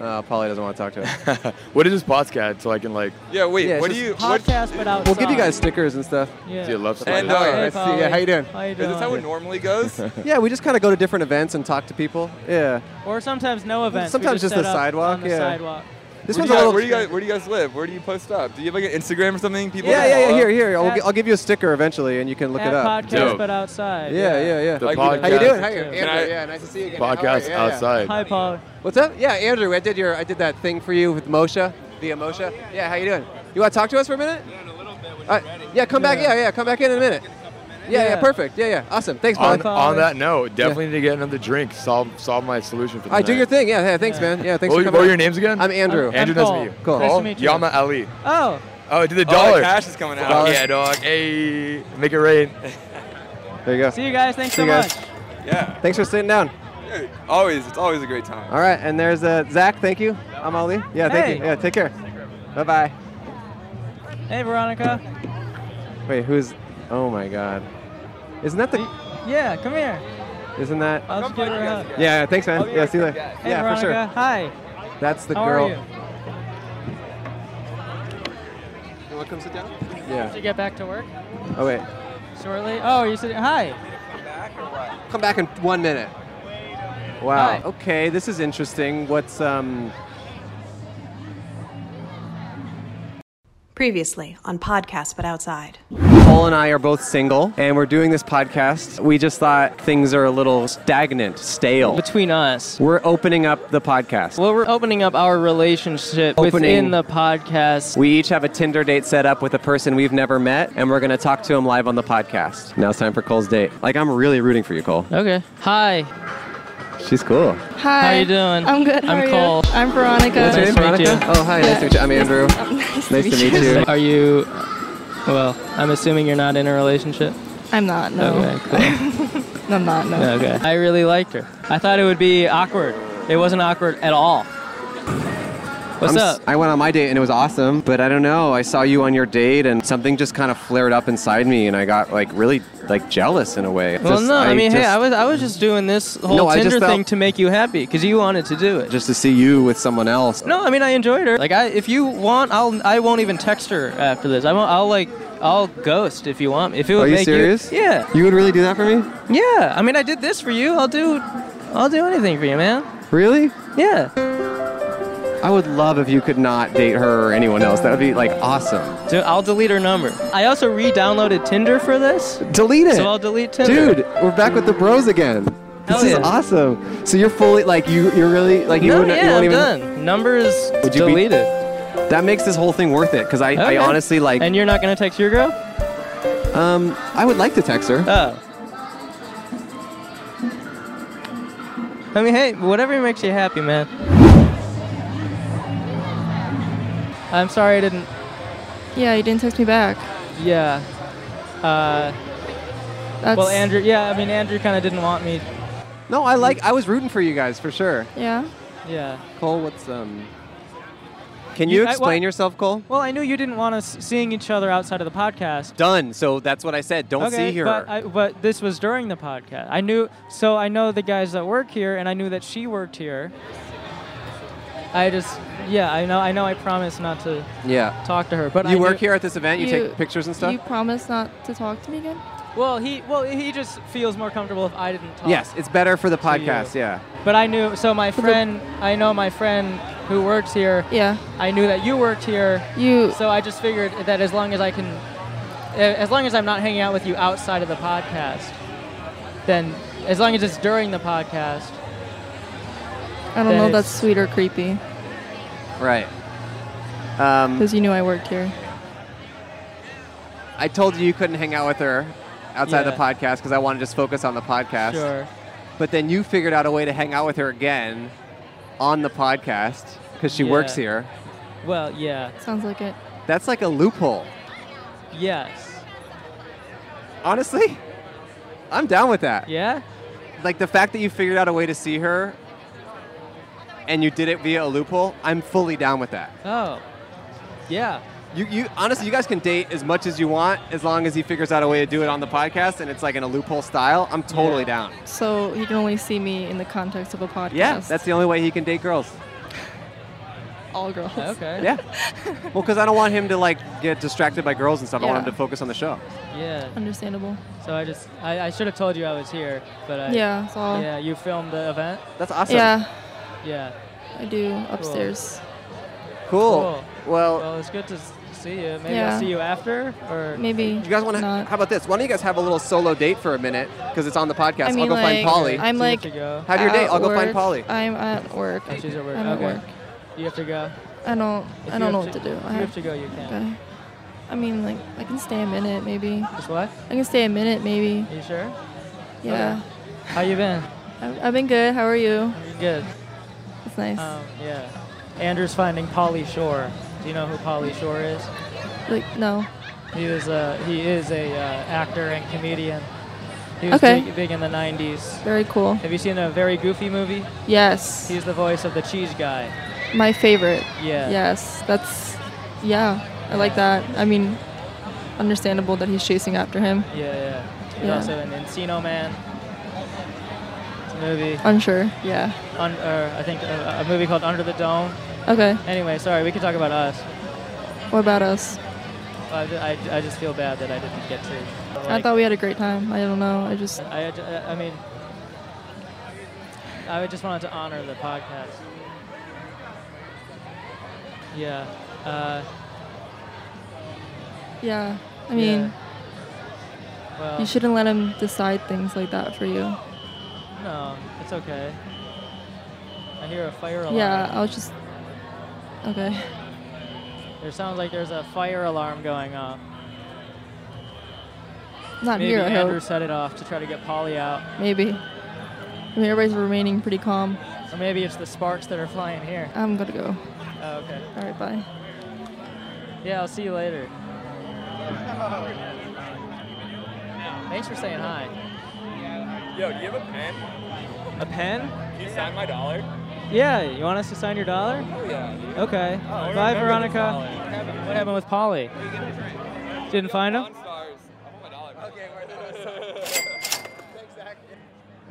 B: Uh, Polly doesn't want to talk to us.
F: <laughs> what is this podcast? So I can like,
G: yeah, wait.
B: Yeah, it's
G: what do
B: just
G: you? What,
D: Podcast, but outside.
B: We'll give you guys stickers and stuff.
D: Yeah.
F: dude, love
G: And,
F: Spotify.
G: uh,
B: Hi,
D: Hey,
B: Oh, I see ya.
D: Polly.
B: How you doing?
D: How you
G: is this how it
D: doing?
G: normally goes?
B: <laughs>
G: <laughs>
B: Yeah, we just kind of go to different events and talk to people. Yeah.
D: Or sometimes no events. We
B: Sometimes just
D: set
B: the
D: up
B: sidewalk,
D: On the
B: yeah.
D: sidewalk.
B: This
G: where,
B: one's
G: do
B: a
G: you guys,
B: little.
G: where do you guys Where do you guys live? Where do you post up? Do you have like an Instagram or something? People
B: yeah,
G: can
B: yeah, yeah.
G: follow?
B: Here, here. I'll,
D: At-
B: I'll give you a sticker eventually, and you can look
D: At
B: it up.
D: podcast,
F: Dope.
D: but outside.
B: Yeah, yeah, yeah.
F: The
G: Like,
F: podcast.
B: How you doing? How you?
D: Too.
B: Andrew,
G: Can I-
B: yeah, nice to see you again. How are
F: Podcast
B: you? Oh, Yeah, yeah.
F: outside.
D: Hi, Polly.
B: What's up? Yeah, Andrew, I did your, I did that thing for you with Moshe, via Moshe. yeah. how you doing? You want to talk to us for a minute? Yeah, in a little bit. When ready. Yeah, come back.
D: Yeah.
B: Yeah, yeah, come back in in a minute. Yeah, yeah,
D: Yeah.
B: perfect. Yeah, yeah, awesome. Thanks, Polly.
F: on,
D: Spotify.
F: on that note, definitely need to get another drink. Solve solve my solution for the
B: All right, do
F: night.
B: your thing. Yeah, yeah, thanks,
D: Yeah.
B: man. Yeah, thanks
F: What,
B: for
F: were-
B: coming.
F: what were
B: out.
F: your names again?
B: I'm Andrew.
D: I'm
F: Andrew, nice to meet
D: Cole.
F: you.
B: Cool.
D: Nice
F: Cole?
D: to meet you.
F: Yama Ali.
D: Oh,
F: Oh, did the
G: Oh,
F: dollar.
G: cash is coming out.
F: Fuck yeah, dog. Hey, make
G: <laughs>
F: it rain.
B: There you go.
D: see you guys. Thanks
B: See
D: so
B: you guys.
D: much.
G: Yeah.
B: Thanks for sitting down.
G: Dude, always. It's always a great time.
B: All right, and there's uh, Zach. Thank you. I'm Ali. Yeah, thank you.
D: Hey.
B: Yeah, take care. Bye bye.
D: Hey, Veronica.
B: Wait, who's? Oh my God. Isn't that the?
D: Yeah, come here.
B: Isn't that?
D: I'll just give her a hug.
B: Yeah, thanks, man.
G: be
B: Yeah,
G: right
B: see you
G: back,
B: later.
G: guys.
D: Oh, Hey,
B: Yeah, for
D: Veronica.
B: sure.
D: Hi.
B: That's the
D: How
B: girl.
D: are you?
G: You want to come sit down?
D: Did
B: Yeah.
D: you get back to work
B: Oh wait.
D: shortly? Oh, you said hi.
B: Come back in one minute. Wow.
D: Hi.
B: Okay, this is interesting. What's um?
H: Previously on Podcast But Outside.
B: Paul and I are both single, and we're doing this podcast. We just thought things are a little stagnant, stale.
D: Between us.
B: We're opening up the podcast.
D: Well, we're opening up our relationship
B: Opening.
D: within the podcast.
B: We each have a Tinder date set up with a person we've never met, and we're going to talk to him live on the podcast. Now it's time for Cole's date. Like, I'm really rooting for you, Cole.
D: Okay. Hi.
B: She's cool.
I: Hi.
D: How you doing?
I: I'm good. How
D: I'm
I: are you?
D: Cole.
I: I'm Veronica.
D: What's your Nice name? to meet
B: Veronica?
D: you.
B: Oh, hi. Nice to meet you. I'm Andrew.
I: <laughs> nice,
B: Nice to meet you.
D: Are you? Well, I'm assuming you're not in a relationship.
I: I'm not. No.
D: Okay. Cool.
I: I'm not. <laughs> No.
D: okay. I really liked her. I thought it would be awkward. It wasn't awkward at all. What's
B: I'm s-
D: up?
B: I went on my date and it was awesome, but I don't know. I saw you on your date and something just kind of flared up inside me, and I got like really like jealous in a way.
D: Well,
B: Just-
D: no. I, mean, hey,
B: just-
D: I was I was just doing this whole
B: No, I just
D: Tinder
B: felt-
D: thing to make you happy because you wanted to do it.
B: just to see you with someone else.
D: No, I mean I enjoyed her. Like I, if you want, I'll I won't even text her after this. I won't. I'll like I'll ghost if you want. me. If it would
B: Are you
D: make
B: serious?
D: yeah,
B: You would really do that for me?
D: yeah. I mean I did this for you. I'll do, I'll do anything for you, man.
B: Really?
D: Yeah.
B: I would love if you could not date her or anyone else. That would be like awesome.
D: Do, I'll delete her number. I also re-downloaded Tinder for this,
B: Delete it.
D: so I'll delete Tinder.
B: Dude, we're back with the bros again.
D: Hell
B: this is
D: yeah.
B: awesome. So you're fully like you you're really like you
D: No,
B: wouldn't
D: yeah,
B: you won't
D: I'm
B: even
D: done. Number is
B: Would you be-
D: deleted.
B: that makes this whole thing worth it because I,
D: Okay.
B: I honestly like
D: And you're not gonna text your girl? Oh.
B: um I would like to text her.
D: Oh. I mean, hey, whatever makes you happy, man. I'm sorry I didn't.
I: Yeah, you didn't text me back.
D: Yeah. Uh,
I: That's,
D: well, Andrew. Yeah, I mean, Andrew kind of didn't want me.
B: No, I like. I was rooting for you guys for sure.
I: Yeah.
D: Yeah.
B: Cole, what's um? Can
D: You-
B: you
D: I- well-
B: explain yourself, Cole?
D: Well, I knew you didn't want us seeing each other outside of the podcast.
B: Done. So that's what I said. Don't
D: okay,
B: see her.
D: but I, but this was during the podcast. I knew, so I know the guys that work here, and I knew that she worked here. I just, yeah, I know, I know. I promised not to
B: yeah.
D: talk to her, but I
B: You work
D: knew-
B: here at this event. You, take pictures and stuff.
I: You promise not to talk to me again?
D: Well, he, well, he just feels more comfortable if I didn't talk.
B: yes, it's better for the
D: you.
B: podcast. Yeah.
D: But I knew, so my friend, I know my friend who works here.
I: Yeah.
D: I knew that you worked here,
I: You.
D: so I just figured that as long as I can, a- as long as I'm not hanging out with you outside of the podcast, then as long as it's during the podcast.
I: I don't know.
D: then
I: if That's
D: it's-
I: sweet or creepy
B: Right. Um,
I: because you knew I worked here.
B: I told you you couldn't hang out with her outside
D: Yeah.
B: the podcast because I want to just focus on the podcast.
D: Sure.
B: But then you figured out a way to hang out with her again on the podcast because she
D: Yeah.
B: works here.
D: Well, yeah.
I: Sounds like it.
B: That's like a loophole.
D: Yes.
B: Honestly, I'm down with that.
D: Yeah?
B: Like the fact that you figured out a way to see her and you did it via a loophole, I'm fully down with that.
D: Oh. Yeah.
B: You, you honestly, you guys can date as much as you want as long as he figures out a way to do it on the podcast and it's like in a loophole style. I'm totally
D: Yeah.
B: down.
I: So he can only see me in the context of a podcast.
B: Yeah, that's the only way he can date girls.
I: all girls.
D: Okay.
B: Yeah. well, because I don't want him to like get distracted by girls and stuff. I want
I: Yeah.
B: him to focus on the show.
D: Yeah.
I: Understandable.
D: So I just I, I should have told you I was here, but I
I: yeah. So I'll-
D: Yeah, you filmed the event?
B: That's awesome.
I: yeah.
D: Yeah.
I: I do upstairs.
B: Cool.
D: Cool.
B: Well,
D: Well, it's good to s- see you. Maybe I'll
I: Yeah.
D: see you after or
I: Maybe.
B: you guys want to?
I: not.
B: How about this? Why don't you guys have a little solo date for a minute? Because it's on the podcast.
I: I mean,
B: will go
I: like,
B: find Polly.
D: Do you
I: I'm like
D: have to go.
B: have your date.
I: at
B: I'll go find
I: work.
B: Polly.
I: I'm at work.
D: Oh, she's at work.
I: I'm
D: Okay.
I: at work.
D: You have to go.
I: I don't.
D: If
I: I
D: you
I: don't know
D: have
I: what to do.
D: If
I: I
D: you
I: have
D: have to go, you can.
I: Okay. I mean, like, I can stay a minute, maybe.
D: Just what?
I: I can stay a minute, maybe.
D: Are you sure?
I: Yeah.
D: How you been?
I: I've, I've been good. How are you?
D: You good.
I: It's nice.
D: Um, yeah. Andrew's finding Polly Shore. Do you know who Polly Shore is?
I: like, no.
D: He was a he is a uh, actor and comedian. He was
I: Okay.
D: big, big in the '90s.
I: Very cool.
D: Have you seen a very goofy movie?
I: Yes.
D: He's the voice of the cheese guy.
I: My favorite.
D: Yeah.
I: Yes. That's, yeah. I like that. I mean, understandable that he's chasing after him.
D: Yeah. yeah. He's
I: Yeah.
D: also in Encino Man. It's a movie.
I: Unsure. Yeah.
D: Un- or I think uh, a, a movie called Under the Dome.
I: Okay.
D: Anyway, sorry. We can talk about us.
I: What about us?
D: I, ju- I, ju- I just feel bad that I didn't get to.
I: I
D: like,
I: thought we had a great time. I don't know. I just,
D: I, I ju- I mean, I just wanted to honor the podcast. Yeah. Uh,
I: yeah. I mean,
D: well,
I: you shouldn't let him decide things like that for you.
D: No, it's okay. I hear a fire alarm.
I: Yeah. I was just, okay. <laughs>
D: There sounds like there's a fire alarm going off.
I: Not
D: Maybe
I: here, I
D: Andrew
I: hope.
D: set it off to try to get Polly out.
I: Maybe. I mean, everybody's remaining pretty calm.
D: Or maybe it's the sparks that are flying here.
I: I'm gonna go.
D: Oh, okay.
I: All right, bye.
D: Yeah, I'll see you later. Thanks for saying hi.
G: Yo, do you have a pen?
D: A pen?
G: Can you sign my dollar?
D: Yeah, you want us to sign your dollar?
G: Oh yeah. dude.
D: Okay.
G: I
D: Bye,
G: remember the dollar.
D: Veronica. What happened with Polly? Didn't find him?
G: Stars. I want my dollar. Okay,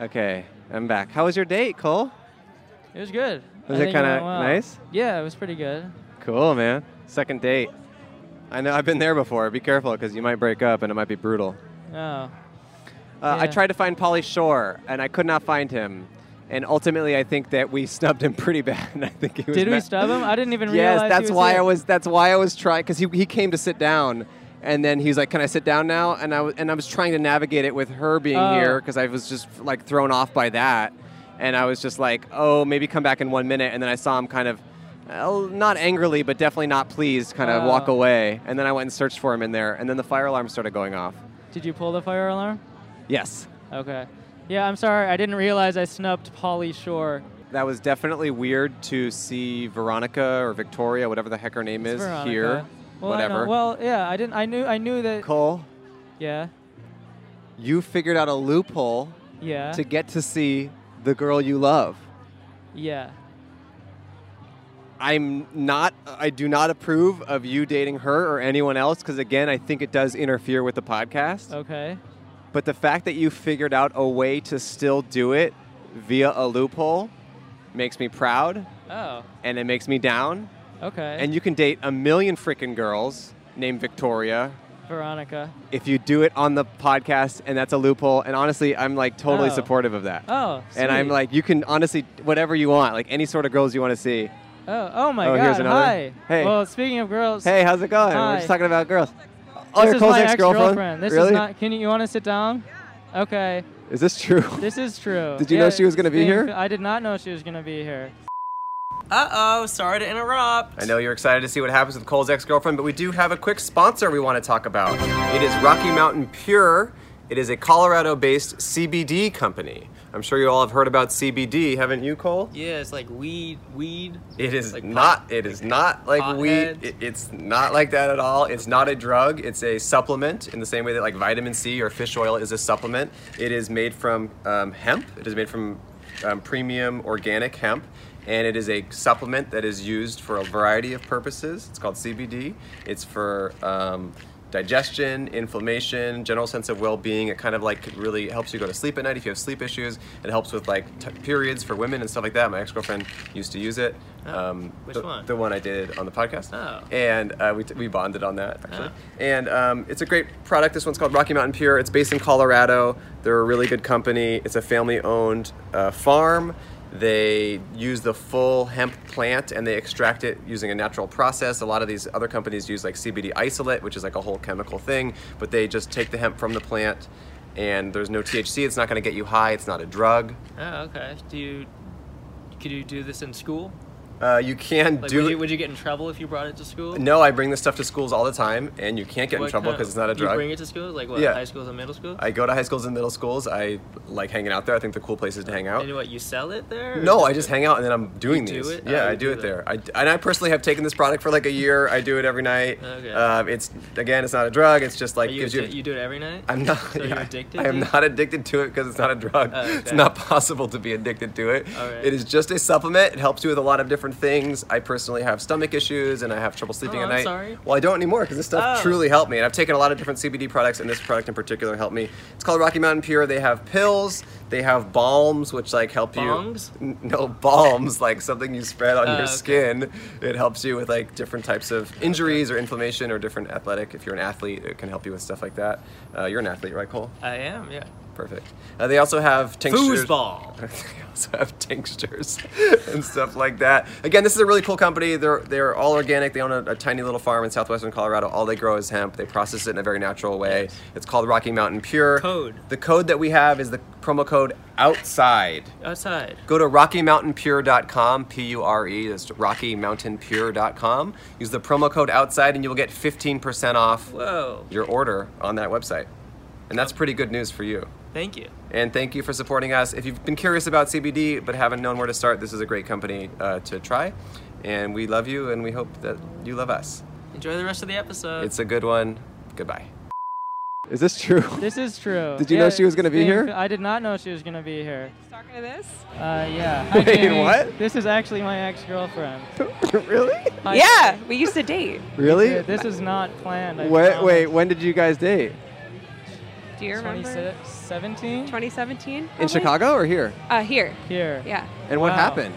B: Okay, I'm back. How was your date, Cole?
D: It was good.
B: Was
D: I
B: it
D: think went
B: kinda
D: well.
B: nice?
D: Yeah, it was pretty good.
B: Cool, man. Second date. I know I've been there before. Be careful because you might break up and it might be brutal.
D: Oh. Yeah.
B: Uh, I tried to find Polly Shore and I could not find him. And ultimately, I think that we <laughs> snubbed him pretty bad. <laughs> I think he was
D: Did we
B: mad.
D: stub him? I didn't even realize.
B: Yes,
D: he
B: that's
D: was
B: why
D: here.
B: I was. That's why I was trying because he, he came to sit down, and then he's like, "Can I sit down now?" And I w- and I was trying to navigate it with her being
D: Oh.
B: here because I was just like thrown off by that, and I was just like, "Oh, maybe come back in one minute." And then I saw him kind of. uh, Not angrily, but definitely not pleased, kind of walk
D: Oh.
B: away. And then I went and searched for him in there, and then the fire alarm started going off.
D: Did you pull the fire alarm?
B: Yes.
D: Okay. Yeah, I'm sorry. I didn't realize I snubbed Polly Shore.
B: That was definitely weird to see Veronica or Victoria, whatever the heck her name is,
D: Veronica.
B: here.
D: Well, I know-
B: whatever.
D: Well, yeah, I didn't. I knew. I knew that.
B: Cole,
D: Yeah.
B: you figured out a loophole
D: Yeah.
B: to get to see the girl you love.
D: yeah.
B: I'm not. I do not approve of you dating her or anyone else because again, I think it does interfere with the podcast.
D: Okay.
B: But the fact that you figured out a way to still do it via a loophole makes me proud
D: Oh.
B: and it makes me down.
D: Okay.
B: And you can date a million freaking girls named Victoria
D: Veronica.
B: if you do it on the podcast and that's a loophole. And honestly, I'm like totally
D: Oh.
B: supportive of that.
D: Oh.
B: And I'm
D: sweet.
B: like, you can honestly, whatever you want, like any sort of girls you want to see.
D: Oh. Oh my
B: Oh,
D: God.
B: here's another.
D: Hi.
B: Hey.
D: Well, speaking of girls.
B: Hey, how's it going? We're
D: Hi.
B: just talking about girls. Oh,
D: This
B: your
D: is
B: Cole's
D: my
B: ex-girlfriend?
D: ex-girlfriend. This
B: really?
D: is not. Can you? You want to sit down? Okay.
B: Is this true?
D: This is true.
B: Did you know she was gonna
D: it's
B: be
D: being
B: here?
D: fi- I did not know she was gonna be here.
A: Uh oh, sorry to interrupt.
B: <laughs> I know you're excited to see what happens with Cole's ex girlfriend, but we do have a quick sponsor we want to talk about. It is Rocky Mountain Pure. It is a Colorado based CBD company. I'm sure you all have heard about CBD, haven't you, Cole?
A: Yeah, it's like weed, weed.
B: It is
A: Like
B: not.
A: pot-
B: it is not like weed.
A: potheads?
B: It, it's not like that at all. It's not a drug. It's a supplement in the same way that like vitamin C or fish oil is a supplement. It is made from um, hemp. It is made from um, premium organic hemp, and it is a supplement that is used for a variety of purposes. It's called CBD. It's for um, digestion, inflammation, general sense of well-being. It kind of like really helps you go to sleep at night if you have sleep issues. It helps with like t- periods for women and stuff like that. My ex-girlfriend used to use it. Um,
A: Oh, which
B: the-
A: one?
B: The one I did on the podcast.
A: Oh.
B: And uh, we, t- we bonded on that actually. And um, it's a great product. This one's called Rocky Mountain Pure. It's based in Colorado. They're a really good company. It's a family-owned uh, farm. They use the full hemp plant and they extract it using a natural process. A lot of these other companies use like CBD isolate, which is like a whole chemical thing, but they just take the hemp from the plant and there's no THC. It's not going to get you high. It's not a drug.
A: Oh, okay. Do you? Could you do this in school?
B: Uh, you can
A: Like,
B: do
A: would you, would you get in trouble if you brought it to school?
B: No, I bring this stuff to schools all the time, and you can't get in
A: What
B: trouble
A: kind of-
B: because it's not a
A: You bring
B: drug.
A: it to school, like what?
B: Yeah.
A: High schools and middle schools.
B: I go to high schools and middle schools. I like hanging out there. I think the cool places to hang out.
A: and what? You sell it there? or
B: No, I just hang out and then I'm doing
A: do
B: these.
A: it?
B: Yeah,
A: Oh,
B: I
A: you
B: do
A: do
B: it
A: that.
B: there. I, and I personally have taken this product for like a year. I do it every night.
A: Okay.
B: Um, it's again, it's not a drug. It's just like
A: Are you,
B: gives
A: addi-
B: you.
A: you do it every night.
B: I'm not.
A: So you're addicted
B: I
A: to
B: am
A: it?
B: not addicted to it because it's not a drug.
A: Oh,
B: It's
A: okay.
B: not possible to be addicted to it.
A: All right.
B: It is just a supplement. It helps you with a lot of different things. I personally have stomach issues and I have trouble sleeping
A: Oh,
B: at
A: I'm
B: night.
A: sorry.
B: Well, I don't anymore because this stuff
A: Oh.
B: truly helped me. And I've taken a lot of different CBD products, and this product in particular helped me. It's called Rocky Mountain Pure. They have pills. They have balms, which like help
A: Bongs?
B: you. N- No balms, <laughs> like something you spread on
A: Oh,
B: your
A: okay.
B: skin. It helps you with like different types of injuries or inflammation or different athletic. If you're an athlete, it can help you with stuff like that. Uh, you're an athlete, right, Cole?
A: I am. Yeah.
B: Perfect. Uh, they also have tinctures.
A: Foosball.
B: <laughs> they also have tinctures <laughs> and stuff like that. Again, this is a really cool company. They're they're all organic. They own a, a tiny little farm in southwestern Colorado. All they grow is hemp. They process it in a very natural way. It's called Rocky Mountain Pure.
A: Code.
B: The code that we have is the promo code outside.
A: Outside.
B: Go to rockymountainpure.com, P U R E, that's rockymountainpure.com. Use the promo code outside and you will get 15% off
A: Whoa.
B: your order on that website. And that's pretty good news for you.
A: Thank you.
B: And thank you for supporting us. If you've been curious about CBD but haven't known where to start, this is a great company uh, to try. And we love you and we hope that you love us.
A: Enjoy the rest of the episode.
B: It's a good one. Goodbye. Is this true?
D: <laughs> This is true.
B: Did you know she was gonna
D: it's
B: be
D: being
B: here?
D: fi- I did not know she was gonna be here.
J: Talking to this?
D: Uh,
B: <laughs>
D: yeah. Hi,
B: Wait,
D: Jamie.
B: what?
D: This is actually my ex-girlfriend.
B: <laughs> really?
D: Hi,
J: yeah, we used to date.
B: Really?
D: Jamie. This is not planned. I
B: Wait,
D: promise.
B: wait, when did you guys date?
J: Do you remember?
D: 26, 17?
J: 2017?
B: In
J: probably?
B: Chicago or here?
J: Uh, here.
D: Here.
J: Yeah.
B: And what
D: Oh, Wow.
B: happened?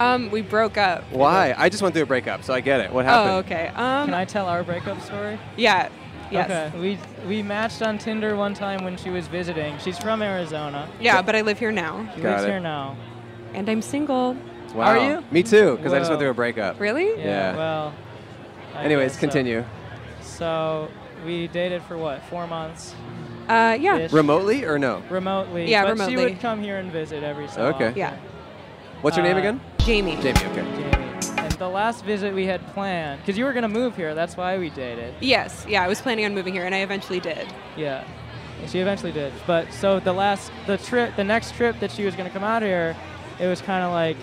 J: Um, we broke up.
B: Why? I just went through a breakup, so I get it. What happened?
J: Oh, okay. Um,
D: Can I tell our breakup story?
J: yeah. Yes.
D: Okay. We we matched on Tinder one time when she was visiting. She's from Arizona.
J: Yeah, but I live here now,
D: She
B: Got
D: lives
B: it.
D: here now.
J: and I'm single.
B: Wow.
D: Are you?
B: Me too, because I just went
D: Whoa.
B: through a breakup.
J: Really?
D: Yeah.
B: Yeah.
D: Well. I
B: Anyways,
D: guess so.
B: continue.
D: So we dated for what? Four months.
J: Uh, yeah.
D: Ish.
B: Remotely or no?
D: remotely.
J: Yeah,
D: but She
J: remotely.
D: would come here and visit every so
B: Okay.
D: often.
J: Yeah.
B: What's your name
D: Uh,
B: again?
J: Jamie.
B: Jamie, okay.
D: Jamie. And the last visit we had planned, because you were gonna move here, that's why we dated.
J: Yes. Yeah, I was planning on moving here, and I eventually did.
D: Yeah. She eventually did. But so the last, the trip, the next trip that she was going to come out here, it was kind of like,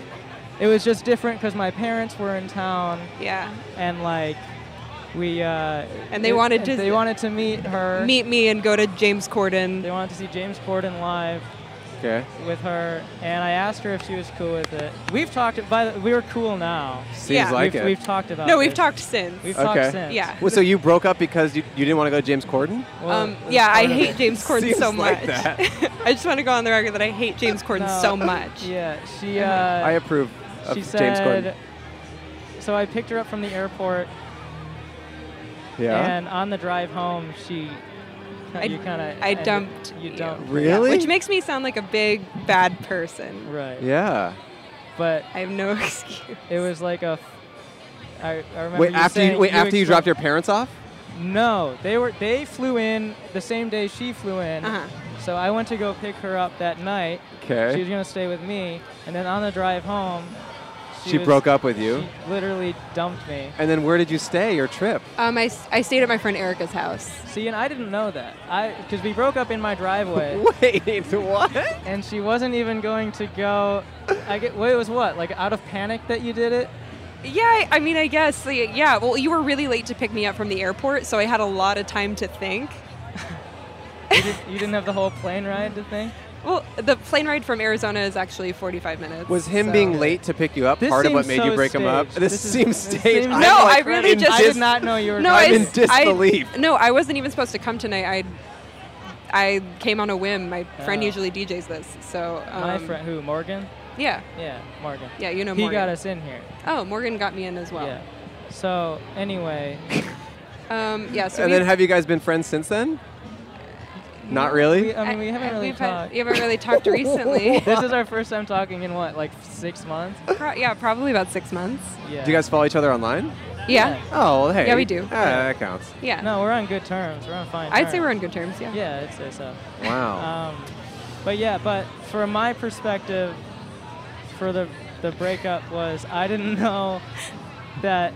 D: it was just different because my parents were in town.
J: Yeah.
D: And like, we. Uh,
J: And they
D: it-
J: wanted
D: and
J: to-
D: They wanted to meet her.
J: Meet me and go to James Corden. They
D: wanted to see James Corden live
E: Okay.
D: with her, and I asked her if she was cool with it. We've talked. By the, we were cool now.
B: Seems Yeah. like
D: we've,
B: it.
D: We've talked about.
J: No, we've
D: this.
J: talked since.
D: We've
B: okay.
D: talked since.
J: Yeah.
B: Well, so you broke up because you, you didn't want to go to James Corden?
J: Um, yeah,
D: part
J: I
D: of
J: hate
D: it.
B: <laughs>
J: James Corden
B: Seems
J: so much.
B: like that.
J: I just want to go on the record that I hate James Corden
D: No,
J: so much.
D: <laughs> Yeah, she. Uh,
B: I approve of
D: she
B: James
D: said,
B: Corden.
D: So I picked her up from the airport,
B: Yeah.
D: and on the drive home, she. <laughs>
J: I-
D: you kind of.
J: I dumped
D: You dumped. her.
B: Really?
J: Which makes me sound like a big bad person.
D: Right.
B: yeah.
D: But
J: I have no <laughs> excuse.
D: it was like a. f- I, I remember.
B: Wait, after you,
D: saying-
B: wait, after you
D: explained-
B: dropped your parents off?
D: No, they were they flew in the same day she flew in.
J: Uh-huh.
D: So I went to go pick her up that night.
B: 'Kay.
D: She was gonna stay with me, and then on the drive home,
B: She
D: was-
B: broke up with you?
D: She literally dumped me.
B: And then where did you stay your trip?
I: Um, I, s- I stayed at my friend Erica's house.
D: See, and I didn't know that. I because we broke up in my
J: <laughs>
D: driveway,
B: Wait, what?
D: and she wasn't even going to go. I get. Wait, it was what? Like out of panic that you did it?
J: Yeah, I- I mean, I guess. like, Yeah, well, you were really late to pick me up from the airport, so I had a lot of time to think.
D: You, did, you didn't have the whole plane ride to think.
J: Well, the plane ride from Arizona is actually 45 minutes.
B: Was him
D: So-
B: being late to pick you up
D: This
B: part of what made
D: seems so
B: you break him up?
D: staged.
B: This,
D: This is-
B: seems
D: this
B: staged.
D: seems-
B: I'm
J: No,
B: like
J: I really
B: in
J: just-
D: I
B: dis-
D: did not know you were.
J: No,
D: going.
J: I,
B: I'm in
J: s- I-
B: disbelief.
J: no, I wasn't even supposed to come tonight. I I came on a whim. My friend
D: Oh.
J: usually DJs this, so um,
D: my friend who Morgan.
J: Yeah,
D: Yeah, Morgan.
J: yeah, you know.
D: he
J: Morgan.
D: got us in here.
J: Oh, Morgan got me in as well.
D: Yeah. So anyway,
J: Yeah. Um, yeah so
B: and
J: we,
B: then have you guys been friends since then? Not really?
D: we, I mean, we haven't really
J: we've had,
D: talked.
J: you haven't
D: <laughs>
J: really talked recently.
D: This is our first time talking in what, like six months?
J: <laughs> Pro- yeah, probably about six months.
D: Yeah.
B: Do you guys follow each other online?
J: Yeah,
B: Oh, well, hey.
J: Yeah, we do.
B: Ah, that counts.
J: yeah.
D: No, we're on good terms. We're on fine.
J: I'd say
D: terms.
J: we're on good terms. Yeah.
D: Yeah, I'd say so.
B: Wow.
D: Um, but yeah, but from my perspective, for the the breakup was I didn't <laughs> know that,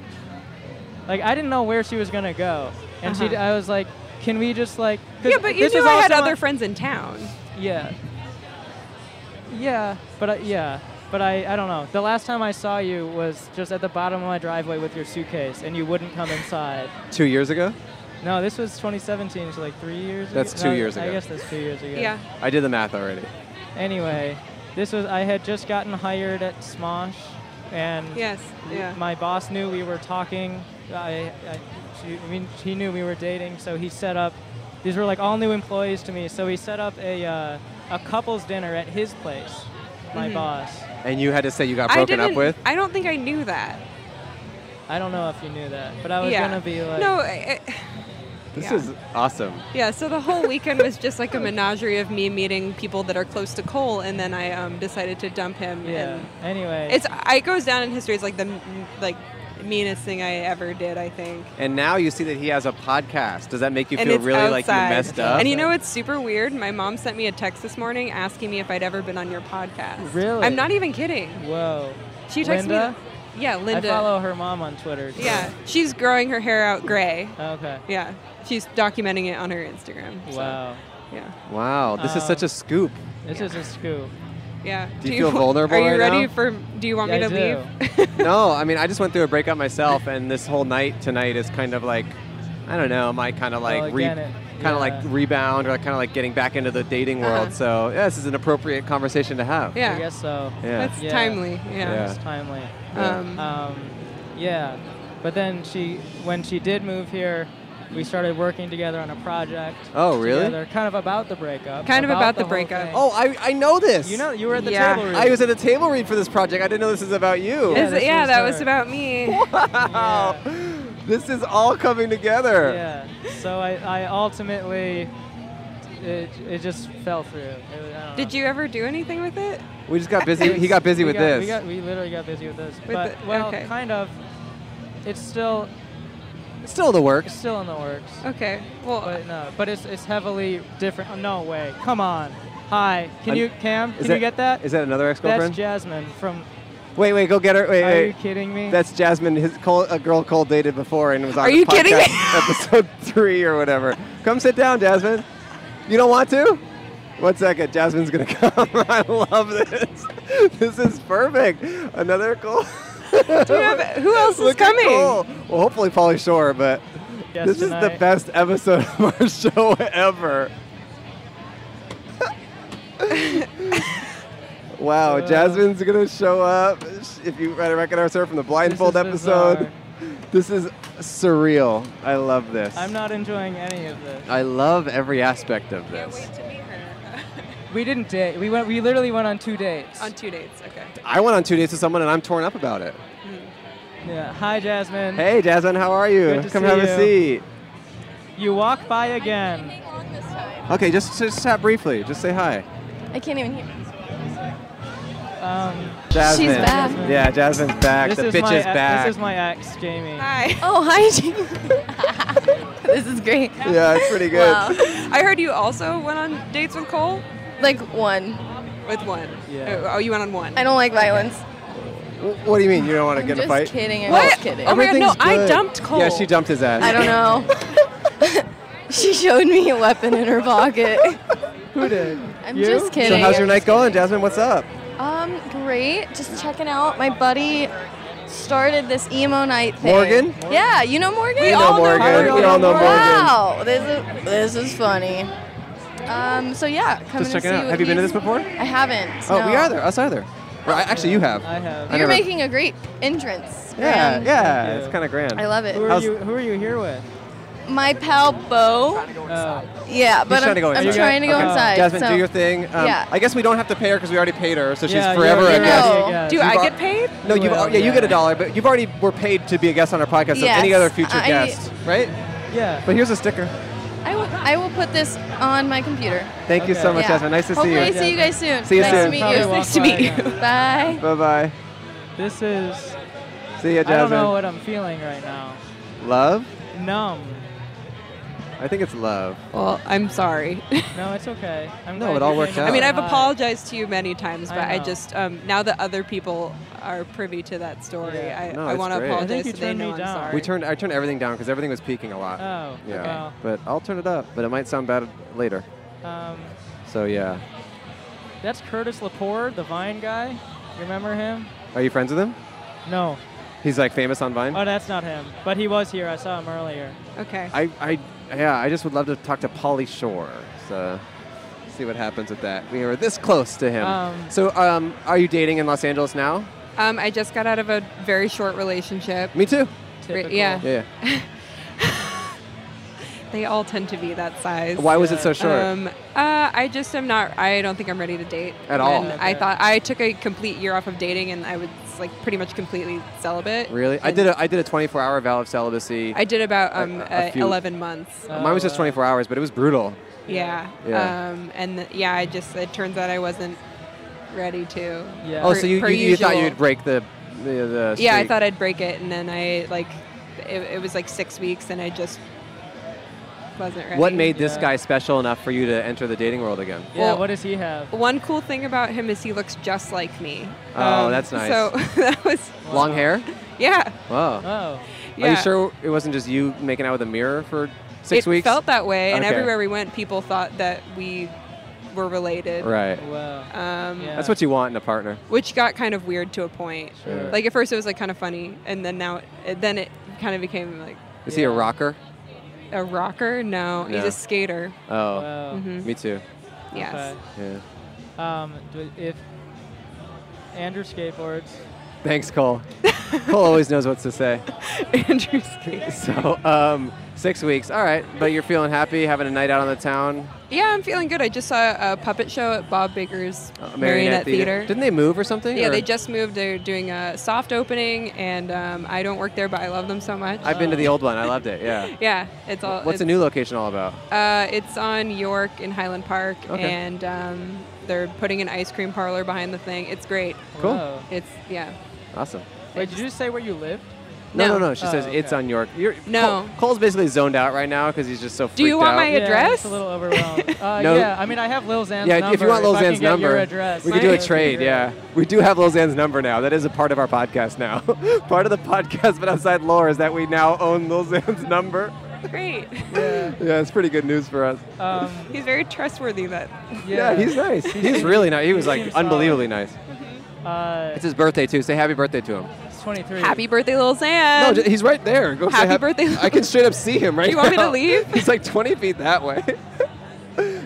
D: like I didn't know where she was gonna go, and she
J: Uh-huh.
D: I was like, can we just like? 'cause
J: Yeah, but you
D: this
J: knew
D: is
J: I had
D: also
J: other
D: my-
J: friends in town.
D: Yeah. Yeah, but I, yeah, but I, I don't know. The last time I saw you was just at the bottom of my driveway with your suitcase, and you wouldn't come inside.
B: Two years ago?
D: No, this was 2017, so like three years.
B: That's
D: ago?
B: two
D: No,
B: years
D: I
B: ago.
D: guess that's two years ago.
J: Yeah.
B: I did the math already.
D: Anyway, this was I had just gotten hired at Smosh, and
J: Yes. Yeah.
D: my boss knew we were talking. I, I, she, I mean, he knew we were dating, so he set up. These were like all new employees to me, so he set up a uh, a couples dinner at his place. My
J: Mm-hmm.
D: boss.
B: And you had to say you got
J: I
B: broken
J: didn't.
B: up with?
J: I don't think I knew that.
D: I don't know if you knew that, but I was
J: yeah.
D: gonna be like,
J: no. I, I-
B: This
J: Yeah.
B: is awesome.
J: Yeah, so the whole weekend was just like a menagerie of me meeting people that are close to Cole, and then I um, decided to dump him.
D: yeah.
J: And
D: Anyway,
J: it's I- it goes down in history as like the m- like meanest thing I ever did. I think.
B: And now you see that he has a podcast. Does that make you
J: and
B: feel
J: it's
B: really
J: outside.
B: like you messed up?
J: And you know it's super weird? My mom sent me a text this morning asking me if I'd ever been on your podcast.
D: Really?
J: I'm not even kidding.
D: whoa.
J: She texted
D: "Oh, Linda?
J: me. Yeah, Linda.
D: I follow her mom on Twitter. too.
J: Yeah, she's growing her hair out gray.
D: Okay.
J: Yeah, she's documenting it on her Instagram. so,
D: Wow.
J: Yeah.
B: wow, this is
D: Um,
B: such a scoop.
D: This is a scoop.
J: Yeah.
B: Do you feel vulnerable
J: Are you
B: right
J: ready
B: now?
J: for? Do you want
D: Yeah,
J: me
D: I
J: to
D: do.
J: leave?
B: no, I mean, I just went through a breakup myself, and this whole night tonight is kind of like, I don't know, my kind of like,
D: again, Oh, it-
B: kind of like
D: yeah.
B: rebound, or kind of like getting back into the dating world.
J: Uh-huh.
B: So yeah, this is an appropriate conversation to have.
J: Yeah.
D: I guess so.
B: Yeah.
J: That's
D: Yeah.
J: timely.
B: Yeah.
J: Yeah.
D: It's timely.
J: Um,
D: Um, yeah. But then she, when she did move here, we started working together on a project.
B: Oh, really?
D: Together, kind of about the breakup.
J: Kind of about the
D: whole
J: breakup.
D: thing.
B: Oh, I, I know this.
D: You know, you were at the
J: Yeah.
D: table.
B: I was at a table read for this project. I didn't know this is about you.
J: Is
D: this
J: it- yeah,
D: was
J: that
D: her.
J: was about
B: <laughs>
J: me.
D: Wow.
B: This is all coming together.
D: Yeah. So I, I ultimately, it, it just fell through. It was- I don't
J: Did
D: know.
J: you ever do anything with it?
B: We just got busy. He got busy
D: We
B: with
D: got-
B: this.
D: We, got, we literally got busy with this. but
J: the-
D: well,
J: okay.
D: kind
B: <laughs>
D: of. It's still
B: It's Still in the
D: it's
B: works.
D: still in the works.
J: Okay. Well,
D: But no, but it's it's heavily different. oh, no way. Come on. Hi. Can
B: I'm-
D: you Cam? Can
B: Is
D: you get that?
B: Is that another
D: That's
B: ex-girlfriend?
D: Jasmine from.
B: wait, wait, go get her. Wait,
D: Are
B: wait.
D: you kidding me?
B: That's Jasmine, his Cole, a girl Cole dated before and was on
J: Are
B: his
J: you kidding
B: <laughs> podcast, episode three or whatever. Come sit down, Jasmine. You don't want to? One second, Jasmine's gonna <laughs> come. I love this. This is perfect. Another Cole.
J: Do we have-
B: <laughs>
J: who else is
B: Look at
J: coming?
B: Cole. Well, hopefully Polly Shore, but
D: Yes,
B: this is the
D: tonight.
B: best episode <laughs> of our show ever. wow, Jasmine's gonna show up. If you recognize her from the blindfold
D: This is
B: episode, this is surreal. I love this.
D: I'm not enjoying any of this.
B: I love every aspect of this.
D: We didn't date. We went. We literally went on two dates.
J: On two dates, okay.
B: I went on two dates with someone and I'm torn up about it.
D: Yeah. Hi, Jasmine.
B: Hey, Jasmine, how are you?
D: Good to
B: Come
D: see
B: have
D: you.
B: a seat.
D: You walk by again.
B: Okay, just just chat briefly. Just say hi.
K: I can't even hear.
D: Um,
B: Jasmine.
K: She's back.
B: Yeah, Jasmine's back.
D: This
B: the
D: is
B: bitch
D: my
B: is
D: e-
B: back.
D: This is my ex, Jamie.
J: Hi.
K: Oh, hi,
J: <laughs>
K: Jamie. this is great.
B: yeah, it's pretty good.
K: Wow.
J: I heard you also went on dates with Cole?
K: Like one.
J: With one?
B: Yeah.
J: Oh, you went on one.
K: I don't like violence.
B: Wh- What do you mean? You don't want to get in a
K: just
B: fight?
K: kidding. I'm What? just kidding. Oh my God, no,
B: Everything's
K: I
B: good.
K: dumped
B: Yeah,
K: Cole.
B: she dumped his ass.
K: I don't know. <laughs> she showed me a weapon in her pocket. <laughs>
D: Who did?
K: I'm just kidding.
B: So how's your
K: I'm
B: night going, Jasmine? What's up?
K: Um, great. Just checking out. My buddy started this emo night thing.
B: Morgan?
K: Yeah, you know Morgan.
B: We We know all know Morgan. Morgan. We all know Morgan.
K: Wow, this is this is funny. Um, so yeah, come
B: just
K: in and see
B: checking out.
K: what
B: Have you been to
K: he's-
B: this before?
K: I haven't.
B: Oh,
K: no.
B: we are there. Us either. Well, I- actually, you have.
D: I have.
B: I
K: You're
B: never-
K: making a great entrance.
B: Yeah,
K: Grand.
B: yeah. It's kind of grand.
K: I love it.
D: Who are
B: How's-
D: you? Who are you here with?
K: My pal Bo.
D: Oh.
K: Yeah, but
B: He's
K: I'm
B: trying to go
K: I'm
B: inside.
K: trying to go
B: Okay.
K: inside.
B: Jasmine,
K: so-
B: do your thing. Um,
K: Yeah.
B: I guess we don't have to pay her because we already paid her, so she's
D: Yeah, you're
B: forever a
D: already
B: guest.
D: a guest.
J: Do
B: You've
J: I
B: al-
J: get paid?
B: No, you
D: Well,
B: yeah, you
D: yeah.
B: get a dollar, but you've already were paid to be a guest on our podcast. So any
K: Yes,
B: other future
K: I-
B: guest, right?
D: Yeah.
B: But here's a sticker.
K: I will, I will put this on my computer.
B: Thank you so
D: Okay.
B: much,
K: Yeah.
B: Jasmine. Nice to
K: Hopefully I
B: see you.
K: see you guys soon.
B: See you
K: nice
B: soon.
K: to meet
D: Probably
K: you.
D: walk by
K: <laughs>
D: again.
K: Bye.
B: Bye bye.
D: This
J: <laughs>
D: is.
B: See you,
D: I don't
B: Jasmine.
D: know what I'm feeling right now.
B: Love?
D: Numb.
B: I think it's love.
J: Well, I'm sorry.
D: No, it's okay. I'm
B: No,
D: glad
B: it all
D: you
B: worked
D: came
B: out.
D: over.
J: I mean, I've
D: Hi.
J: apologized to you many times,
D: I
J: but I,
D: know.
J: just um, now that other people are privy to that story,
D: Yeah.
J: I,
B: No,
J: I
B: it's
J: want to
B: great. I think
J: apologize.
D: you
J: so they
D: turned me
J: know I'm
D: down.
J: sorry.
B: We turned I turned everything down because everything was peaking a lot.
D: Oh.
B: yeah. But I'll turn it up, but it might sound bad later.
D: Well, um,
B: So yeah.
D: that's Curtis Laporte, the Vine guy. You remember him?
B: Are you friends with him?
D: No.
B: He's like famous on Vine?
D: Oh, that's not him. But he was here. I saw him earlier.
J: Okay.
B: I, I yeah, I just would love to talk to Polly Shore. So see what happens with that. We were this close to him.
D: Um,
B: so um, are you dating in Los Angeles now?
J: Um, I just got out of a very short relationship.
B: Me too.
D: Typical.
J: yeah.
B: Yeah. yeah.
J: They all tend to be that size.
B: Why was it so
D: Yeah.
B: short?
J: Um, uh, I just am not. I don't think I'm ready to date
B: At all.
J: And
D: Okay.
J: I thought I took a complete year off of dating, and I was like pretty much completely celibate.
B: really? I
J: And
B: did a I did a 24 hour vow of celibacy.
J: I did about um,
B: a- a
J: uh,
B: few-
J: 11 months.
D: Uh,
B: Mine was just
D: Oh,
B: 24 hours, but it was brutal.
J: yeah.
B: Yeah.
J: Um, and th- yeah, I just it turns out I wasn't ready to.
D: Yeah.
B: Oh,
J: Per-
B: so you,
J: per
B: you, you thought
J: usual.
B: you'd break the the, the
J: Yeah, I
B: streak.
J: thought I'd break it, and then I like, it, it was like six weeks, and I just wasn't ready.
B: What made this
D: Yeah.
B: guy special enough for you to enter the dating world again?
D: Yeah.
J: Well-
D: what does he have?
J: One cool thing about him is he looks just like me. Um,
B: Oh, that's nice.
J: So <laughs> that was
B: Long
D: Wow. <laughs>
B: hair?
J: yeah.
B: Wow.
D: Oh.
J: yeah.
B: Are you sure it wasn't just you making out with a mirror for six
J: it
B: weeks?
J: felt that way, and
B: Okay.
J: everywhere we went, people thought that we were related.
B: right.
D: Wow.
J: Um,
D: Yeah.
B: That's what you want in a partner.
J: Which got kind of weird to a point.
D: Sure.
J: Like at first it was like kind of funny, and then now, it, then it kind of became like
B: Is he a
D: Yeah.
B: rocker?
J: a rocker. No, he's
B: No.
J: a skater.
B: Oh,
D: Wow.
J: Mhm.
B: me too.
J: Yes.
D: Okay.
B: Yeah.
D: Um, do- if Andrew skateboards,
B: Thanks, Cole. Cole always knows what to say.
J: <laughs> Andrew skates.
B: <laughs> So, um, six weeks. All right, but you're feeling happy, having a night out on the town,
J: Yeah, I'm feeling good. I just saw a puppet show at Bob Baker's
B: uh,
J: Marionette,
B: theater.
J: Theater.
B: Didn't they move or something?
J: Yeah,
B: or-
J: they just moved. They're doing a soft opening, and um, I don't work there, but I love them so much.
B: I've been to the old one. I loved
J: <laughs>
B: it. Yeah.
J: yeah, it's all.
B: What's
J: it's,
B: the new location all about?
J: Uh, it's on York in Highland Park,
B: Okay.
J: and um, they're putting an ice cream parlor behind the thing. It's great.
B: Cool.
D: Whoa.
J: It's yeah.
B: Awesome.
D: Wait, did you just say where you lived?
B: No, no,
J: No.
B: no. She
D: Oh,
B: says it's
D: okay.
B: on York. You're,
J: No.
B: Cole- Cole's basically zoned out right now because he's just so freaked
J: you want
B: out.
J: my-
D: Yeah, it's
J: address?
D: a little overwhelmed.
J: <laughs>
D: Uh,
B: No.
D: Yeah, I mean, I have Lil Zan's
B: yeah,
D: number.
B: if you want
D: I can
B: Lozanne's
D: get
B: number,
D: your address,
B: we could do a
D: that'd be
B: trade.
D: great.
B: Yeah, we do have Lozanne's number now. That is a part of <laughs> our podcast now. part of the podcast, but outside lore, is that we now own Lozanne's <laughs> number.
D: <laughs>
J: Great.
B: yeah, it's pretty good news for us.
D: um,
J: <laughs> he's very trustworthy. That.
B: Yeah, he's nice. He's really nice. He was like unbelievably nice.
D: Uh,
B: It's his birthday too. Say happy birthday to him.
D: it's 23.
J: Happy birthday, little
B: No,
J: Sam.
B: j- he's right there. Go
J: Um,
B: say
J: Happy
B: hap-
J: birthday.
B: I can straight up
J: <laughs>
B: see him right
J: You want me to
B: now.
J: leave?
B: He's like 20 feet that way. <laughs>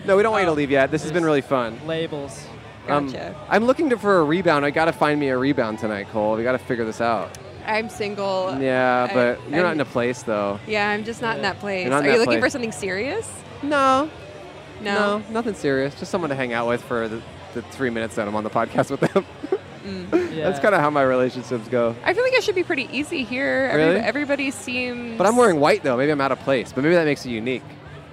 B: no, we don't want you to leave yet. This has been really fun. Um,
D: Labels.
J: Oh. Gotcha.
B: I'm looking to, for a rebound. I got to find me a rebound tonight, Cole. We got to figure this out.
J: I'm single.
B: Yeah,
J: I-
B: but you're not
J: I'm-
B: in a place though.
J: Yeah, I'm just not in that place.
B: You're not
J: Are you
B: in that
J: looking for
B: place.
J: something serious?
B: No.
J: No.
B: nothing serious. Just someone to hang out with for the, the three minutes that I'm on the podcast with them. <laughs>
J: Mm.
B: That's kind of how my relationships go.
J: I feel like I should be pretty easy here.
B: Really?
J: everybody seems.
B: But I'm wearing white though. Maybe I'm out of place. But maybe that makes it unique.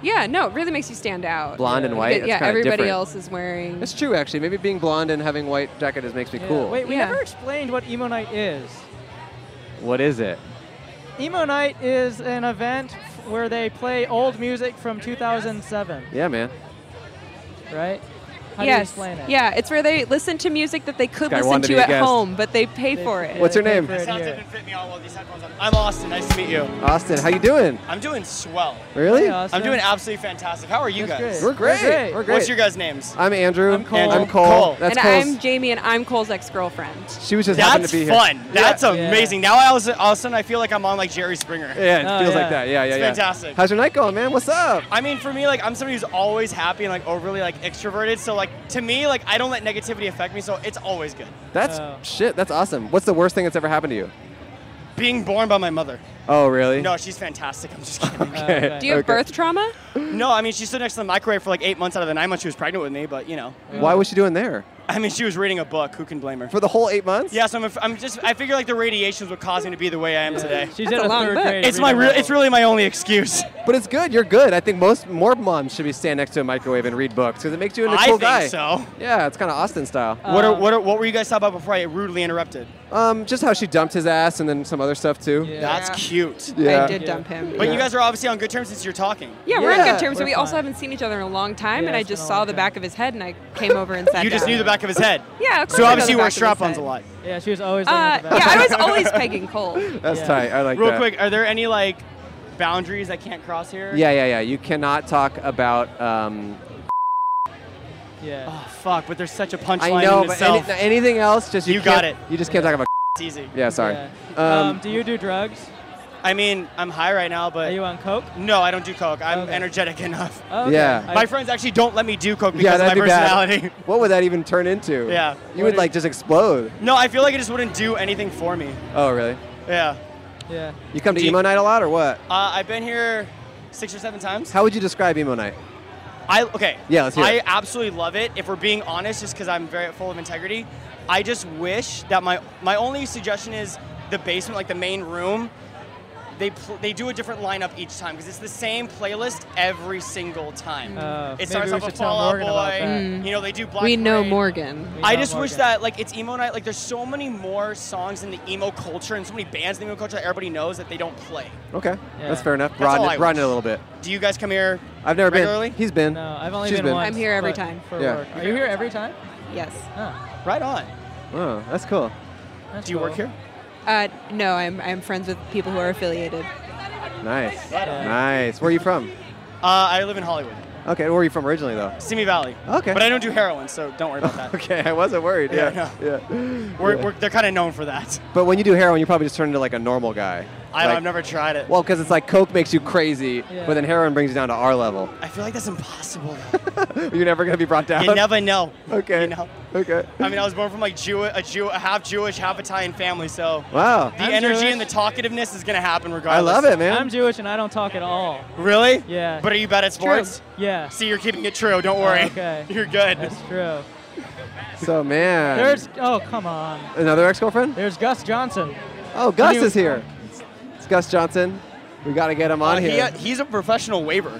J: Yeah, no, it really makes you stand out.
B: Blonde and
J: Uh, Yeah. <laughs>
B: white, that's
J: Yeah,
B: kinda
J: everybody
B: different.
J: else is wearing.
B: It's true actually. Maybe being blonde and having white jacket just makes me
D: Yeah.
B: cool.
D: Wait, we
J: Yeah.
D: never explained what Emo Night is.
B: What is it?
D: Emo Night is an event where they play old music from 2007,
B: Yeah, man.
D: right? How do you
J: yes.
D: explain it?
J: Yeah, it's where they listen to music that they could
B: This guy
J: listen
B: wanted
J: to
B: to be a
J: at
B: guest.
J: home, but they pay for it.
B: What's your name?
L: I'm Austin. Nice to meet you.
B: Austin, how you doing?
L: I'm doing swell.
B: Really? Hey, Austin.
L: I'm doing absolutely fantastic. How are you
B: That's
L: guys?
B: great. We're great. We're great. We're great.
L: What's your guys' names?
B: I'm Andrew. I'm
L: Cole.
B: I'm
L: Andrew.
B: Cole.
L: Cole.
B: That's
J: and
B: Cole's.
J: I'm Jamie, and I'm Cole's ex-girlfriend.
B: she was just happy
L: That's
B: to be here.
L: fun. That's
B: Yeah.
L: amazing. Now I was, all of a sudden I feel like I'm on like Jerry Springer.
B: Oh, Yeah, it feels like that. Yeah, yeah,
L: Oh, it's
B: yeah.
L: Fantastic.
B: How's your night going, man? What's up?
L: I mean, for me, like I'm somebody who's always happy and like overly like extroverted. So like to me, like I don't let negativity affect me. So it's always good.
B: That's
L: Oh.
B: shit. That's awesome. What's the worst thing that's ever happened to you?
L: Being born by my mother.
B: Oh, really?
L: No, she's fantastic. I'm
B: <laughs>
L: just kidding.
B: Okay, Do you have okay. birth
J: trauma?
L: No, I mean she stood next to the microwave for like eight months out of the nine months she was pregnant with me. But you know,
B: Why was she doing there?
L: I mean she was reading a book. Who can blame her?
B: For the whole eight months?
L: Yeah, so I'm, af- I'm just I figure like the radiations would cause me to be the way I am today.
D: She's in a third grade.
L: It's my real.
D: reading
L: It's really my only excuse.
B: <laughs> But it's good. You're good. I think most more moms should be stand next to a microwave and read books because it makes you into a
L: I
B: cool
L: think
B: guy.
L: so.
B: Yeah, it's kind of Austin style.
L: what
D: Um,
L: are, what are, what were you guys talking about before I rudely interrupted?
B: Um, just how she dumped his ass and then some other stuff too.
L: That's cute.
B: Yeah. I did
J: dump him.
L: But you
B: Yeah.
L: guys are obviously on good terms since you're talking.
J: Yeah, we're on good terms, but we also haven't seen each other in a long time,
L: Yeah,
J: and I
L: it's
J: just
L: been a
J: saw
L: long
J: the back of his head, and I came over and
L: <laughs>
J: sat
L: You just
J: down.
L: knew the back of his head.
J: Yeah, <laughs> of course I
L: So
J: know
L: obviously
J: the
L: you wear
J: back of his
L: strap-ons a
J: head.
L: lot.
D: Yeah, she was always.
J: Uh, yeah, I
L: <laughs>
D: <laughs>
J: was
B: <laughs>
J: always pegging Cole.
B: That's tight. I like
L: Real
B: that.
L: quick, are there any like boundaries I can't cross here?
B: Yeah, yeah, yeah. You cannot talk about. Um,
D: Yeah.
L: Oh fuck! But there's such a punchline
B: I know,
L: in
B: but any,
L: itself.
B: anything else, just you,
L: You got
B: can't-
L: it.
B: You just can't talk about.
L: <laughs> it's easy.
B: Yeah, sorry.
L: Um,
D: do you do drugs?
L: I mean, I'm high right now, but are you
D: on coke?
L: No, I don't do coke. I'm energetic enough.
D: Oh,
B: okay. Yeah. I-
L: my friends actually don't let me do coke because
B: yeah,
L: of my
B: that'd be
L: personality. <laughs>
B: bad. <laughs> What would that even turn into?
L: Yeah.
B: You
L: What
B: would
L: is-
B: like just explode.
L: No, I feel like it just wouldn't do anything for me.
B: Oh, really?
L: Yeah.
D: Yeah.
B: You come to
L: Do you-
B: emo night a lot or what?
L: Uh, I've been here six or seven times.
B: How would you describe emo night?
L: I okay.
B: Yeah, let's hear
L: I
B: it.
L: absolutely love it. If we're being honest, just because I'm very full of integrity, I just wish that my my only suggestion is the basement, like the main room. They pl- they do a different lineup each time because it's the same playlist every single time.
D: Oh,
L: it
D: maybe
L: starts
D: we
L: off
D: should
L: with
D: tell
L: Fall Out
D: Morgan about
L: Boy.
D: that.
L: You know they do Black.
J: we know
L: Parade.
J: Morgan.
L: I just wish that like it's emo night. Like there's so many more songs in the emo culture and so many bands in the emo culture that everybody knows that they don't play.
B: Okay,
L: Yeah.
B: that's fair enough.
L: That's
B: Broaden
L: all I
B: it, broaden it a
L: wish.
B: little bit.
L: Do you guys come here?
B: I've never
L: regularly?
B: been. He's been. No,
D: I've only
B: She's
D: been,
B: been.
D: once.
J: I'm here every
D: but
J: time.
D: for
B: Yeah.
D: work. Are you here every time?
J: Yes.
D: Oh,
L: right on.
B: Oh, that's cool.
L: Do you work here?
J: Uh, no, I'm, I'm friends with people who are affiliated.
B: Nice.
L: Right on.
B: Nice. Where are you from?
L: Uh, I live in Hollywood,
B: Okay, where are you from originally though?
L: Simi Valley.
B: Okay.
L: But I don't do heroin, so don't worry about that.
B: <laughs> Okay, I wasn't worried.
L: Yeah,
B: Yeah. yeah.
L: We're,
B: Yeah.
L: we're, they're kind of known for that.
B: But when you do heroin, you probably just turn into like a normal guy.
L: I,
B: Like-
L: I've never tried it.
B: Well, because it's like coke makes you crazy,
L: Yeah.
B: but then heroin brings you down to our level. <laughs>
L: I feel like that's impossible.
B: You're never gonna be brought down.
L: you never know.
B: Okay.
L: You know?
B: Okay.
L: I mean, I was born from like Jew, a Jew, a half Jewish, half Italian family, so
B: Wow.
L: the energy and the talkativeness is gonna happen regardless.
D: I'm Jewish and I don't talk at all.
L: Really?
D: Yeah.
L: But are you bad at
D: True.
L: sports?
D: Yeah.
L: See, you're keeping it true. Don't worry.
D: Okay.
L: <laughs> You're good.
D: That's true.
B: So man.
D: There's oh come on.
B: another ex-girlfriend.
D: There's Gus Johnson.
B: Oh, Gus
D: He was-
B: is here. It's Gus Johnson. We gotta get him on
L: Uh, he-
B: here.
L: he's a professional <laughs> waiver.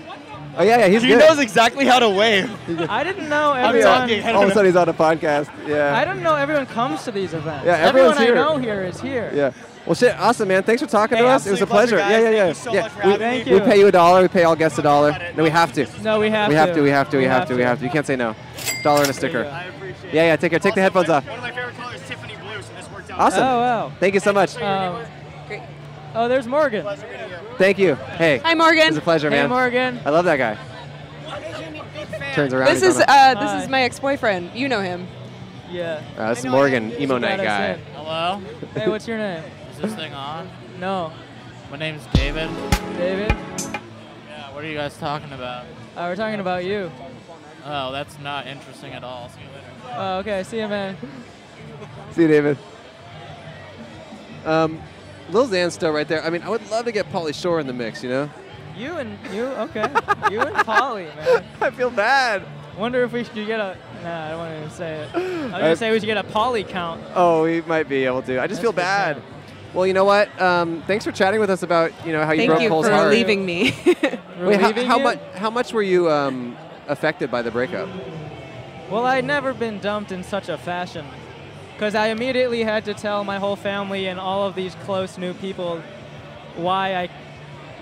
B: oh yeah, yeah. He's
L: he
B: good.
L: knows exactly how to wave. <laughs>
D: I didn't know
L: I'm
D: everyone.
L: talking.
B: All of a sudden, Oh, he's on a podcast. Yeah.
D: I didn't know everyone comes to these events.
B: Yeah,
D: everyone
B: everyone's here.
D: I know here is here.
B: Yeah. Well, shit, awesome, man. Thanks for talking
D: Hey,
B: to us. It was a
D: absolute pleasure,
B: pleasure.
D: guys.
B: Yeah, yeah, yeah.
D: Thank you so
B: yeah.
D: much for
B: we,
D: having Thank me.
B: We
D: you.
B: pay you a dollar. We pay all guests a dollar. No, we have to.
D: No, we have
B: we have
D: to.
B: to. We have to. We,
D: We
B: have,
D: have
B: to.
D: to.
B: We have to. You can't say no. Dollar and a sticker.
D: go. I
L: appreciate
B: yeah, yeah. Take care. Take the headphones off.
L: One of my favorite colors, Tiffany blue, so this worked out.
B: Awesome.
D: Oh, wow.
B: Thank you so much.
D: Um, oh, there's Morgan.
B: Thank you. Hey.
J: Hi, Morgan.
B: It's a pleasure,
J: Hey,
B: man.
J: Morgan.
B: I love that guy. Turns around.
J: This
B: he's
J: is
B: on a-
J: uh, this is my ex-boyfriend. You know him.
D: Yeah.
B: Uh, this is Morgan,
D: Oh,
B: emo night guy.
M: Hello?
D: Hey, what's your name?
M: Is this thing on?
D: No.
M: My name's David.
D: David?
M: Yeah, what are you guys talking about?
D: Uh, we're talking about you.
M: Oh, that's not interesting at all. See you later.
D: Oh, okay. See you, man.
B: See you, David. Um, Lil Xan's still right there. I mean, I would love to get Polly Shore in the mix, you know?
D: You and you,
M: <laughs>
D: okay. you and Polly, man.
B: I feel bad.
D: Wonder if we should get a. Nah, I don't want to even say it. I was
B: I-
D: gonna say we should get a Polly count.
B: Oh, we might be able to. I just feel bad. Well, you know what? Um, thanks for chatting with us about you know how you
J: Thank
B: broke
J: you
B: Cole's
J: for
B: heart.
J: leaving me.
B: Wait, how,
D: Relieving
B: how
D: you?
B: much? How much were you um, affected by the breakup?
D: <laughs> Well, I'd never been dumped in such a fashion. Because I immediately had to tell my whole family and all of these close new people why I.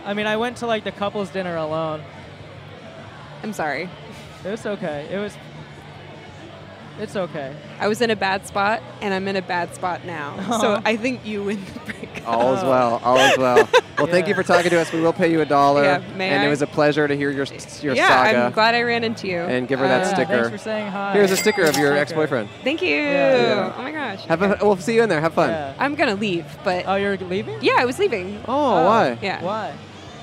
D: I mean, I went to like the couples dinner alone.
J: I'm sorry.
D: It was okay. It was. It's okay.
J: I was in a bad spot, and I'm in a bad spot now. So I think you win the breakup.
D: Oh,
B: All is well. All is well. <laughs> Well, thank you for talking to us. We will pay you a dollar.
J: Yeah, may
B: and
J: I?
B: it was a pleasure to hear your your
J: yeah,
B: saga.
J: I'm glad I ran into you.
B: And give her that
J: Uh,
B: sticker. Here's a
D: <laughs>
B: sticker of your ex-boyfriend.
J: Thank you.
B: Yeah.
J: Oh my gosh.
B: Have a, we'll see you in there. Have fun.
J: I'm gonna leave, but
D: oh, you're leaving?
J: Yeah, I was leaving.
B: Oh, why?
J: Yeah.
D: Why?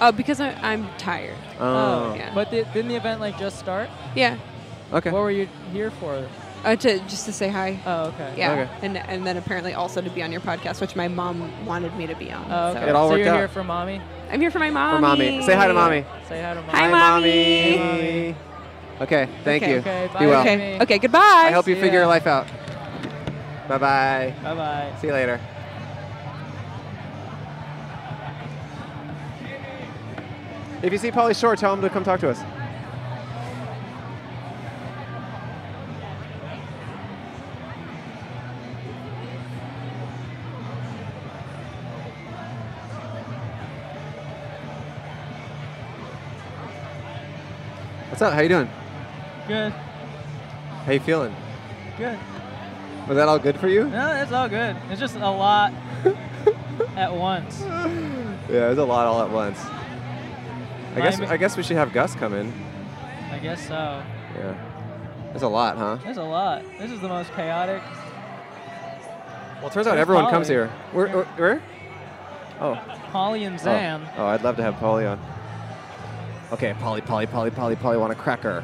J: Uh, because I, I'm tired.
B: Oh.
J: yeah.
D: But the, didn't the event like just start?
J: Yeah.
B: Okay.
D: What were you here for?
J: Uh, to just to say hi.
D: Oh, okay.
J: Yeah.
D: Okay.
J: And and then apparently also to be on your podcast, which my mom wanted me to be on.
D: Oh, okay.
B: It all
D: so
B: worked
D: you're
B: out.
D: here for mommy.
J: I'm here for my mom.
B: For mommy. Say hi to mommy.
D: Say hi to mommy.
J: Hi,
B: mommy.
J: mommy.
B: Okay. Thank
J: Okay,
B: you.
J: okay,
B: Be
J: bye,
B: well.
J: Okay. Okay, goodbye.
B: I hope you
J: See
B: figure
J: ya.
B: your life out. Bye bye.
D: Bye bye.
B: See you later. If you see Polly Shore, tell him to come talk to us. What's up? How you doing?
D: Good.
B: How you feeling?
D: Good.
B: Was that all good for you?
D: No, it's all good. It's just a lot at once.
B: Yeah, it was a lot all at once. I guess
D: Miami-
B: I guess we should have Gus come in.
D: I guess so.
B: Yeah. That's a lot, huh?
D: There's a lot. This is the most chaotic.
B: Well, turns out
D: Where's
B: everyone
D: Polly?
B: comes here. Where? Where? where? Oh.
D: Polly and Zan.
B: Oh. oh, I'd love to have Polly on. Okay, Polly, Polly, Polly, Polly, Polly, want a cracker.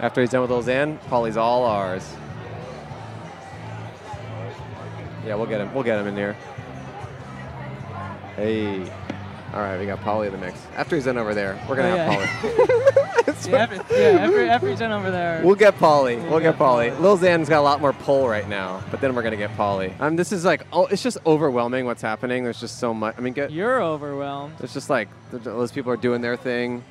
B: After he's done with little Zan, Polly's all ours. Yeah, we'll get him. We'll get him in here. Hey. All right, we got Polly in the mix. After he's done over there, we're gonna
D: Oh,
B: have
D: yeah.
B: Polly.
D: yeah, after, yeah, after, after he's done over there.
B: We'll get Polly. We'll get Polly. Lil Xan's got a lot more pull right now, but then we're gonna get Polly. Um, this is like, oh, it's just overwhelming what's happening. There's just so much. I mean, get,
D: You're overwhelmed.
B: there's just like th- th- those people are doing their thing.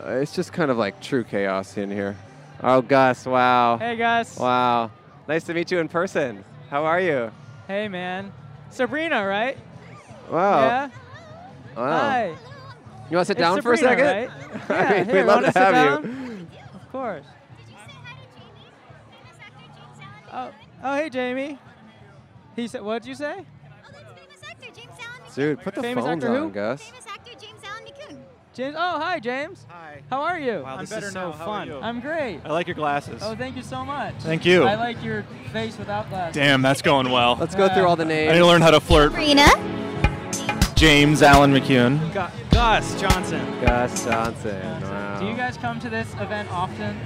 B: Uh, it's just kind of like true chaos in here. Oh, Gus! Wow.
D: Hey, Gus.
B: Wow. Nice to meet you in person. How are you?
D: Hey, man. Sabrina, right?
B: Wow.
D: Yeah.
B: Wow.
D: Hi.
B: You want to sit
D: It's
B: down for a
D: Sabrina,
B: second? <laughs>
D: right?
B: I
D: Yeah,
B: mean,
D: here,
B: we'd love
D: wanna
B: to
D: sit
B: have
D: down? Of course. Oh, oh, hey, Jamie. He said, what'd you say?
B: you. Dude, put the
D: Famous
B: phones
D: actor
B: on,
D: who?
B: Gus.
D: James. Oh, hi, James. Hi. How are you?
N: Wow,
D: I'm
N: this is
D: better
N: so
D: now.
N: fun.
D: How are you? I'm great.
N: I like your glasses.
D: Oh, thank you so much.
N: Thank you.
D: I like your face without glasses.
N: Damn, that's going well.
B: Let's go through all the names.
N: I need to learn how to flirt.
D: Sabrina.
N: James Allen McCune.
D: Gus Johnson.
B: Gus Johnson. uh, Wow.
D: Do you guys come to this event often?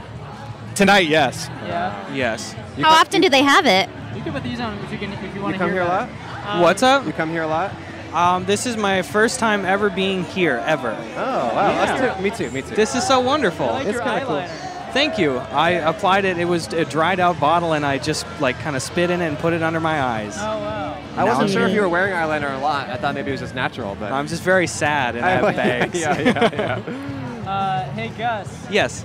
N: Tonight, yes.
D: Yeah.
N: Yes.
O: How often do they have it?
D: You can put these on if you can if you want to
B: You come
D: hear
B: here a
D: about
B: lot?
D: it.
P: What's up?
B: You come here a lot?
P: Um, this is my first time ever being here, ever. Oh,
B: wow. Us too. Me too, me too.
P: This is so wonderful.
B: I like It's your kinda cool.
P: Thank you. I applied it. It was a dried out bottle, and I just like kind of spit in it and put it under my eyes.
B: Oh, I
P: Now I'm
B: wasn't sure if
P: eating.
B: you were wearing eyeliner or not. I thought maybe it was just natural, but
P: I'm just very sad, and I,
B: I
P: have
B: like-
P: bags.
B: <laughs> yeah, yeah,
D: Uh, hey Gus,
P: <laughs> yes.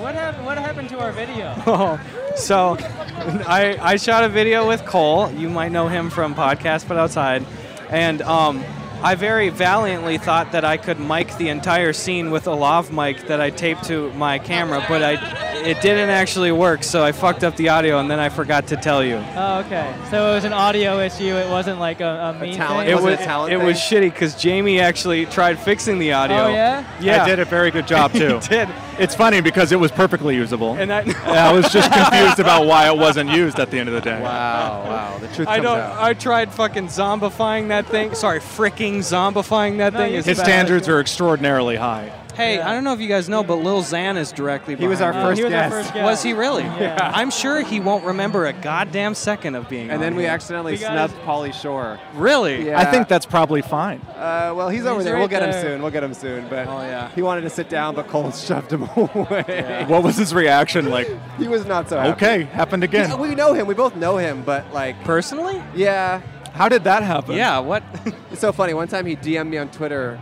D: what happened? What happened to our video?
P: <laughs> Oh, so I, I shot a video with Cole. You might know him from Podcast But Outside. And um, I very valiantly thought that I could mic the entire scene with a lav mic that I taped to my camera, but I it didn't actually work, so I fucked up the audio, and then I forgot to tell you.
D: Oh, okay. So it was an audio issue. It wasn't like a, a mean thing.
P: it was shitty because Jamie actually tried fixing the audio.
D: Oh, yeah?
N: I did a very good job
P: <laughs> He
N: too.
P: did.
N: It's funny because it was perfectly usable. <laughs>
P: And I-
N: I was
P: <laughs>
N: just confused about why it wasn't used at the end of the day.
B: Wow, wow. The truth
P: I don't. I tried fucking zombifying that thing. Sorry, fricking zombifying that thing. is
N: His
P: bad.
N: standards are extraordinarily high.
P: Hey, I don't know if you guys know, but Lil Xan is directly.
N: He was
P: behind
N: our
P: me.
N: first He was our guest. first guest.
P: Was he really?
N: Yeah.
P: <laughs> I'm sure he won't remember a goddamn second of being.
B: And
P: on
B: then we
P: here.
B: accidentally snubbed Polly Shore.
P: Really?
B: Yeah.
N: I think that's probably fine.
B: Uh, well, he's,
P: He's
B: over there.
P: right
B: we'll get him
P: there.
B: soon. We'll get him soon. But
N: Oh,
B: he wanted to sit down, but Cole shoved him <laughs> away.
N: What was his reaction like?
B: He was not so happy.
N: okay, happened again.
B: Yeah, we know him. We both know him, but like
P: personally,
B: yeah.
N: How did that happen?
P: Yeah, what?
B: <laughs> it's so funny. One time he DM'd me on Twitter,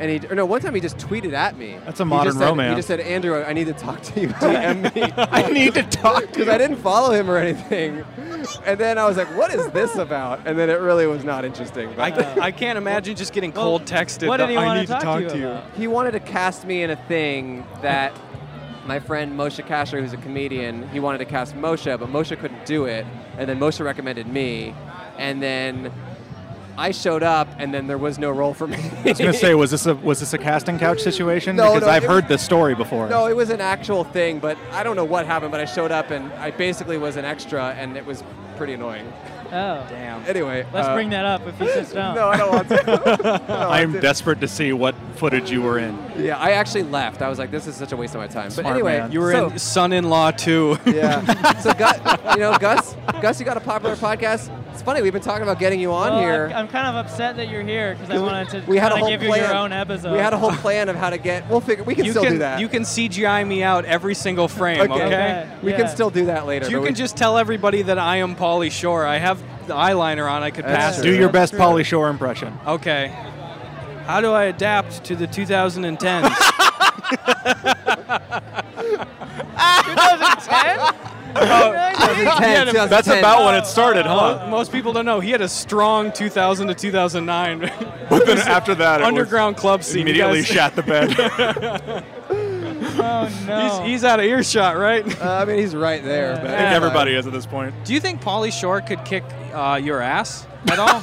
B: and he or no, one time he just tweeted at me.
N: That's a
B: He
N: modern
B: just said-
N: romance.
B: He just said, "Andrew, I need to talk
N: <laughs>
B: to you. DM me. I
N: need to talk
B: <laughs> because I didn't follow him or anything." And then I was like, "What is this about?" And then it really was not interesting. But
P: I, I can't imagine just getting cold texted.
B: what
P: the-
B: did he
P: I
B: wanna
P: need
B: talk to
P: talk
B: you
P: to you.
B: He wanted to cast me in a thing that my friend Moshe Kasher, who's a comedian, he wanted to cast Moshe, but Moshe couldn't do it. And then Moshe recommended me. And then I showed up, and then there was no role for me.
N: I was gonna
B: <laughs>
N: say, was this a was this a casting couch situation?
B: No,
N: because
B: no,
N: I've
B: it
N: heard
B: was-
N: this story before.
B: No, it was an actual thing, but I don't know what happened. But I showed up, and I basically was an extra, and it was pretty annoying.
D: Oh. Damn.
B: Anyway,
D: Let's
B: uh,
D: bring that up if you
B: <laughs>
D: just don't.
B: No, I don't want to.
N: I am
B: dude.
N: desperate to see what footage you were in.
B: yeah, I actually left. I was like, this is such a waste of my time. but
N: Smart
B: anyway,
N: man.
P: You were
B: so-
P: in son-in-law too.
B: <laughs> Yeah. so, Gus, you know, Gus, Gus, you got a popular podcast. It's funny we've been talking about getting you on
D: Well,
B: here.
D: I'm, I'm kind of upset that you're here because I
B: 'Cause we-
D: wanted to
B: we had a
D: kinda
B: whole
D: give you
B: plan.
D: your own episode.
B: we had a whole plan of how to get. We'll figure. We can
P: you
B: still
P: can
B: do that.
P: You can CGI me out every single frame. Okay.
B: We can still do that later.
P: You
B: but
P: can
B: we-
P: just tell everybody that I am Pauly Shore. I have the eyeliner on. I could pass.
N: Do
P: it.
N: your best Polly Shore impression.
P: Okay. How do I adapt to the
N: <laughs>
P: 2010s?
L: <laughs>
C: 2010?
L: Oh.
N: That's about when it started, huh?
P: Mo- Most people don't know he had a strong 2000 to 2009. <laughs>
N: But then after that, it was
P: underground club scene. you
N: immediately
P: guys-
N: shat
P: <laughs>
N: the
D: <laughs>
N: bed.
D: oh no.
P: He's, he's out of earshot, right?
B: <laughs> Uh, I mean, he's right there. But
N: I think everybody is at this point.
P: Do you think Pauly Shore could kick uh, your ass at all?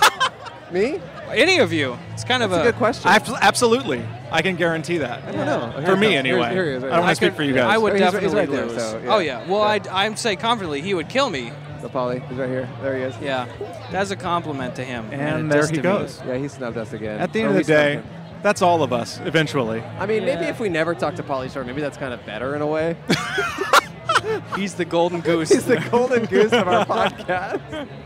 B: <laughs> Me?
P: Any of you? It's kind of
B: That's a good question.
N: Abs- absolutely, I can guarantee that. I
B: don't know. Here
N: For
B: he
N: me,
B: comes.
N: anyway.
B: Here- here he is, right
N: I don't
B: there.
N: want to speak
B: I
N: for you
B: could-
N: guys.
P: I would
B: He's right-
P: definitely
B: he's right there,
P: lose.
B: so, yeah.
P: Oh yeah. Well, I'd, I'd say confidently he would kill me.
B: The Polly, he's right here. There he is.
P: Yeah, that's a compliment to him.
N: And
P: a
N: there
P: diss
N: he
P: to me.
N: goes.
B: Yeah, he snubbed us again.
N: At the
B: Or
N: end of
B: we
N: the day,
B: snubbed him.
N: that's all of us eventually.
B: I mean, maybe
D: Yeah.
B: if we never talk to Polly Shore, maybe that's kind of better in
N: <laughs>
B: a way.
P: He's the golden goose.
B: he's the golden goose
N: <laughs>
B: of our podcast.
D: <laughs>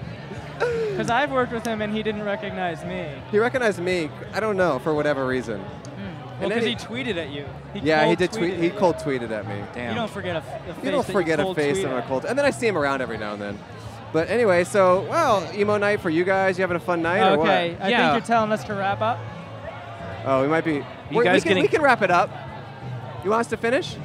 D: Because I've worked with him and he didn't recognize me.
B: He recognized me. I don't know for whatever reason.
D: Well,
B: then
D: because
B: he-
D: he tweeted at you.
B: yeah, he
D: cold
B: did tweet.
D: tweeted
B: He
D: at you.
B: cold tweeted at me.
D: You don't forget a, f- a face.
B: You don't
D: that
B: forget a
D: cold
B: face
D: tweet
B: of a
D: at.
B: cold, and then I see him around every now and then. But anyway, so well, emo night for you guys. You having a fun night or what?
D: Okay, I
P: Yeah.
D: think you're telling us to wrap up.
B: Oh, we might be. we- we,
P: guys
B: can,
P: getting-
B: we can wrap it up. You want us to finish?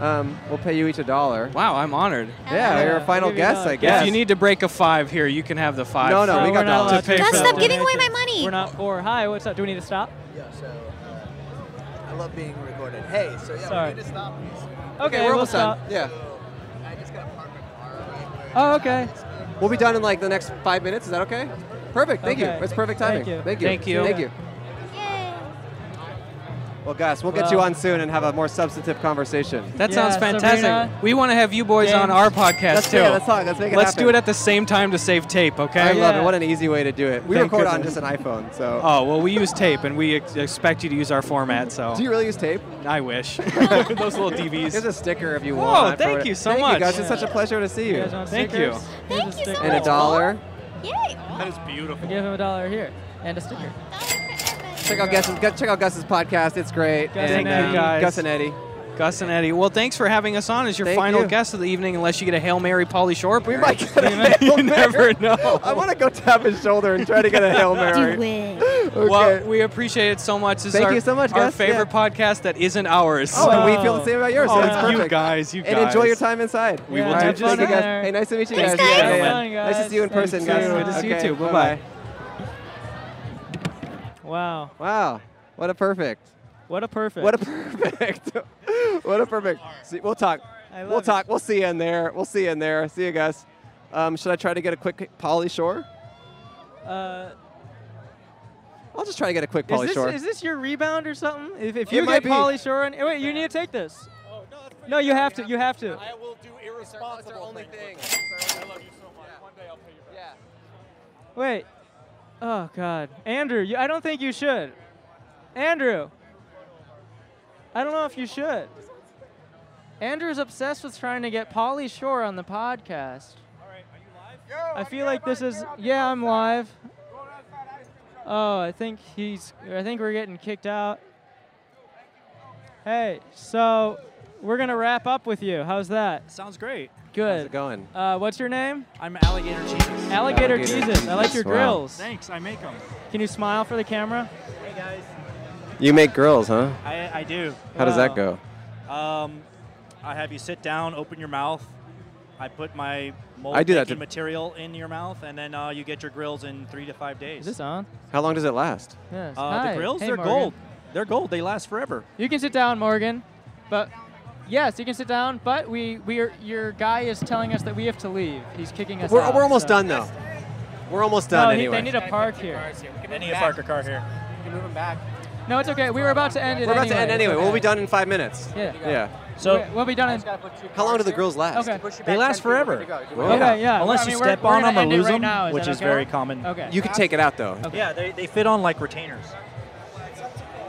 B: Um, we'll pay you each a dollar.
P: Wow, I'm honored.
B: Yeah, you're a
D: We'll
B: final
D: give you a
B: guest,
D: dollar.
B: I guess.
P: If you need to break a five here, you can have the five.
B: No, no, we
D: we're not
B: got dollars.
D: allowed
P: To pay
D: do
P: for
D: that.
P: Guys, stop
O: giving away
D: Donations.
O: my money.
D: We're not poor. Hi, what's up? Do we need to stop?
O: Yeah, so uh, I love being recorded. Hey, so yeah,
D: Sorry.
O: we need to stop.
D: Okay,
B: we're
D: we'll
B: almost done.
D: stop.
B: Yeah,
O: I just gotta park my car.
D: Oh, okay.
B: we'll be done in like the next five minutes. Is that okay? Perfect. Thank you.
D: Okay.
B: That's perfect timing.
D: Thank you.
B: Thank you.
D: Thank you.
B: Thank you. Well, Gus, we'll get you
D: Well-
B: on soon and have a more substantive conversation.
P: That
D: Yeah,
P: sounds fantastic.
D: Sabrina,
P: we want to have you boys on
D: James.
P: our podcast
B: Let's-
P: too.
B: yeah, let's talk. Let's make it
P: Let's do
B: happen.
P: it at the same time to save tape, okay?
B: I love it. What an easy way to do it. We
P: Thank
B: record on
P: goodness.
B: just an iPhone, so.
P: Oh well, we use tape, and we ex- expect you to use our format. So
B: Do you really use tape?
P: I
B: <laughs>
P: wish those little DVs.
B: Here's a sticker if you
P: Whoa,
B: want.
P: thank
B: for-
P: you so
B: thank
P: much.
B: You guys, it's such a pleasure to see
D: You
B: you.
D: guys want
P: Thank
D: stickers?
P: you.
D: Thank you so
B: and a dollar.
N: That is beautiful.
D: Give him a dollar here and a sticker.
B: Check out Gus's go- check out Gus's podcast. It's great. <laughs>
D: Gus and
B: and,
D: Eddie.
B: uh,
P: Guys.
B: Gus and Eddie.
P: Gus and Eddie. Well, thanks for having us on as your
B: Thank
P: final
B: you.
P: guest of the evening, unless you get a Hail Mary Polly Shore.
B: We
P: appearance.
B: might
P: <laughs>
B: get a Hail
P: you never <laughs> know.
B: I want to go tap his shoulder and try to get a <laughs> hail mary. Okay.
P: Well, we appreciate it so much. This is
B: Thank
P: our,
B: you so much,
P: Our
B: Gus.
P: favorite podcast that isn't ours.
B: oh, and we feel the same about yours. so
P: Oh,
B: that's perfect.
P: you guys, you
B: and enjoy
P: guys.
B: your time inside.
P: We will
B: All
P: do
B: right,
P: just
B: thank you
P: that.
B: guys. Hey, nice to meet you
P: Thanks,
B: guys. Yeah,
P: guys.
B: yeah,
D: Have fun,
B: yeah. Nice to
D: guys.
B: see you in
D: Thanks,
B: person,
D: too.
B: guys.
P: Good to see you
B: Okay,
P: too. Bye-bye.
D: Wow.
B: Wow, what a perfect.
D: What a perfect.
B: <laughs> What a perfect. what a perfect. See, we'll talk.
D: I
B: we'll
D: love it.
B: talk. We'll see you in there. We'll see you in there. See you guys. Um, should I try to get a quick Polly Shore?
D: Uh,
B: I'll just try to get a quick
D: is
B: Polly
D: this
B: Shore.
D: is this your rebound or something? If, if
B: It
D: you
B: might
D: get
B: be.
D: Polly Shore, and wait, you need to take this.
N: Oh,
D: No, you have to. You have to.
Q: I will do irresponsible. That's our only thing. I love you so much. One day I'll pay you back. Yeah.
D: Wait. Oh God, Andrew, you, I don't think you should. Andrew, I don't know if you should. Andrew's obsessed with trying to get Polly Shore on the podcast. I feel like this is yeah, I'm live. Oh, I think he's. I think we're getting kicked out. Hey, so we're gonna wrap up with you. How's that?
R: Sounds great.
D: Good.
B: How's it going?
D: Uh, what's your name?
R: I'm Alligator Jesus.
D: Alligator, Jesus. I like your
B: Wow.
D: grills.
R: Thanks. I make them.
D: Can you smile for the camera?
R: Hey guys.
B: You make girls, huh?
R: I, I do.
B: How does that go?
R: Um, I have you sit down, open your mouth. I put my mold
B: I do that
R: making
B: to-
R: material in your mouth, and then uh, you get your grills in three to five days. Is
D: this on?
B: How long does it last?
D: Yes.
R: Uh,
D: Hi.
R: the grills,
D: Hey,
R: they're
D: Morgan.
R: gold. They're gold. They last forever.
D: You can sit down, Morgan. But yes, you can sit down. But we we are, your guy is telling us that we have to leave. He's kicking us
B: We're,
D: out.
B: we're almost
D: so-
B: done though. We're almost done
D: no, he-
B: anyway.
D: They need a park here.
R: I need a Parker car here.
D: You can move him back. No, it's okay. We were about to end it.
B: We're about to end
D: it's
B: anyway.
D: okay.
B: We'll be done in five minutes.
D: Yeah.
B: Yeah.
D: We- we'll be done in.
B: How long do the girls last?
D: Okay.
R: They last forever.
B: Well, Okay, yeah.
D: I
R: Unless
D: mean,
R: you
D: we're-
R: step
D: we're
R: on
D: gonna
R: them or
D: end it
R: lose
D: right
R: them,
D: now. Is
R: which
D: that
R: is
D: okay?
R: very common.
D: Okay.
B: You could take it out though.
R: Yeah, they, they fit on like retainers.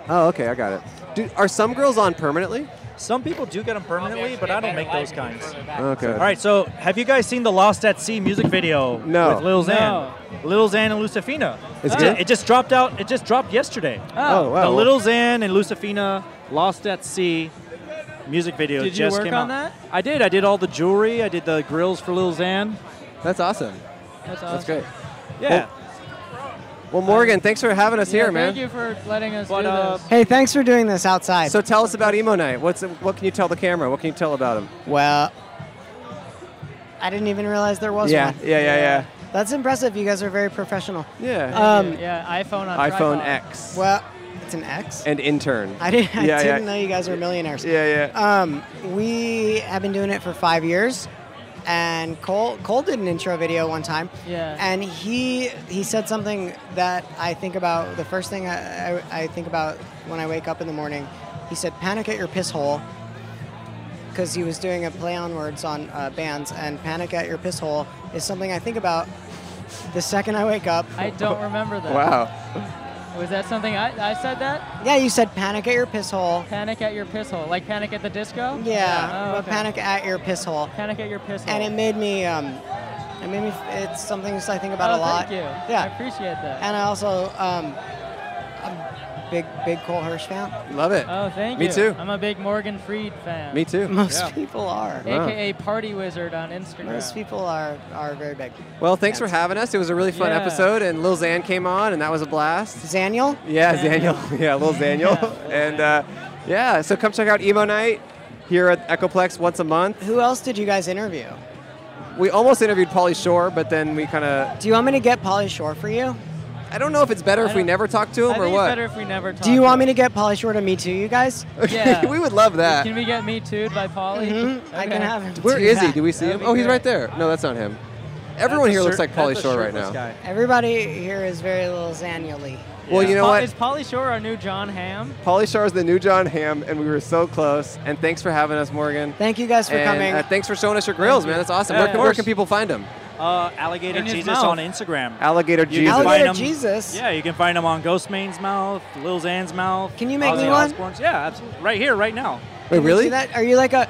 B: Oh, okay, I got it. Dude, are some girls on permanently?
R: Some people do get them permanently, but I don't make those kinds.
B: Okay.
R: All right, so have you guys seen the Lost at Sea music video
B: No.
R: with Lil Xan?
B: No.
R: Lil Xan and Lucifina.
B: Is it
R: It,
B: good?
R: ju- it just dropped out. It just dropped yesterday.
D: Oh.
B: Oh, wow.
R: The Lil Xan and Lucifina Lost at Sea music video
D: Did you
R: just
D: work
R: came
D: on
R: out.
D: that?
R: I did. I did all the jewelry. I did the grills for Lil Xan.
B: That's awesome.
D: That's awesome.
B: That's great.
R: Yeah.
B: Well, Morgan, thanks for having us
D: Yeah,
B: here, man.
D: Thank you for letting us
R: But,
D: do
R: uh,
D: this.
S: Hey, thanks for doing this outside.
B: So tell us about Emo Night. What's what can you tell the camera? What can you tell about him?
S: Well, I didn't even realize there was
B: yeah,
S: one.
B: yeah, yeah, yeah,
S: That's impressive. You guys are very professional.
B: Yeah.
S: Um,
D: yeah, iPhone
B: on iPhone tripod. X.
S: Well, it's an X.
B: And intern.
S: I didn't, I
B: Yeah,
S: didn't
B: yeah.
S: know you guys were millionaires.
B: Yeah,
S: yeah. Um, we have been doing it for five years, and Cole Cole did an intro video one time.
D: Yeah.
S: And he he said something that I think about. The first thing I, I, I think about when I wake up in the morning, he said, "Panic at your piss hole," because he was doing a play on words on uh, bands, and "Panic at your piss hole" is something I think about the second I wake up.
D: I don't remember that. Was that something I, I said that?
S: Yeah, you said panic at your piss hole.
D: Panic at your piss hole, like panic at the disco.
S: Yeah,
D: Oh,
S: but
D: okay.
S: panic at your piss hole.
D: Panic at your piss hole.
S: And it made me, um, it made me. It's something I think about
D: oh,
S: a lot.
D: Thank you.
S: Yeah.
D: I appreciate that.
S: And I also, um, I'm big, big Cole Hirsch fan.
B: Love it.
D: Oh, thank
B: Me
D: you.
B: too.
D: I'm a big Morgan Freed fan.
B: Me too.
S: Most people are.
D: AKA Party Wizard on Instagram.
S: Most people are are very big.
B: Well, thanks for having us. It was a really fun
S: Yeah.
B: episode, and Lil Xan came on, and that was a blast.
S: Xaniel?
B: Yeah, Xaniel. <laughs> yeah, Lil Xaniel. and uh, yeah, so come check out Emo Night here at Echoplex once a month.
S: Who else did you guys interview?
B: We almost interviewed Polly Shore, but then we kind of.
S: Do you want me to get Polly Shore for you?
B: I don't know if it's better if we never talk to him
D: I
B: or
D: think
B: what.
D: it's better if we never talk.
S: Do you want me to get Polly Shore to Me Too, you guys?
D: Yeah.
B: <laughs> we would love that.
D: Can we get Me Too'd by Polly?
S: Mhm. I can have him.
B: Where
S: do
B: is he?
S: that.
B: Do we see him? Oh, he's right there. No, that's not him. Everyone
S: That's a
B: here looks
S: shirt-
B: like Polly
S: that's a
B: Shore right
S: shirtless
B: now.
S: guy. Everybody here is very little Xaniel-y.
B: Well, you know
D: Po-
B: what?
D: Is Polly Shore our new John Hamm?
B: Polly Shore is the new John Hamm, and we were so close. And thanks for having us, Morgan.
S: Thank you guys
R: for
B: And,
R: coming.
B: Uh, thanks for showing us your grills,
R: Thank you.
B: man. That's awesome.
R: Yeah,
B: where,
R: of
B: can, where
R: course.
B: can people find him?
R: Uh, Alligator
D: In his
R: Jesus
D: mouth.
R: on Instagram.
B: Alligator
R: You can
B: Jesus.
R: find
B: Alligator
R: 'em-
S: Jesus.
R: Yeah, you can find him on Ghost Main's mouth, Lil Xan's mouth.
S: Can you make me
R: Ozzy
S: one?
R: Osbourne's. Yeah, absolutely. Right here, right now.
B: Wait,
S: Can you do that? Are you like a?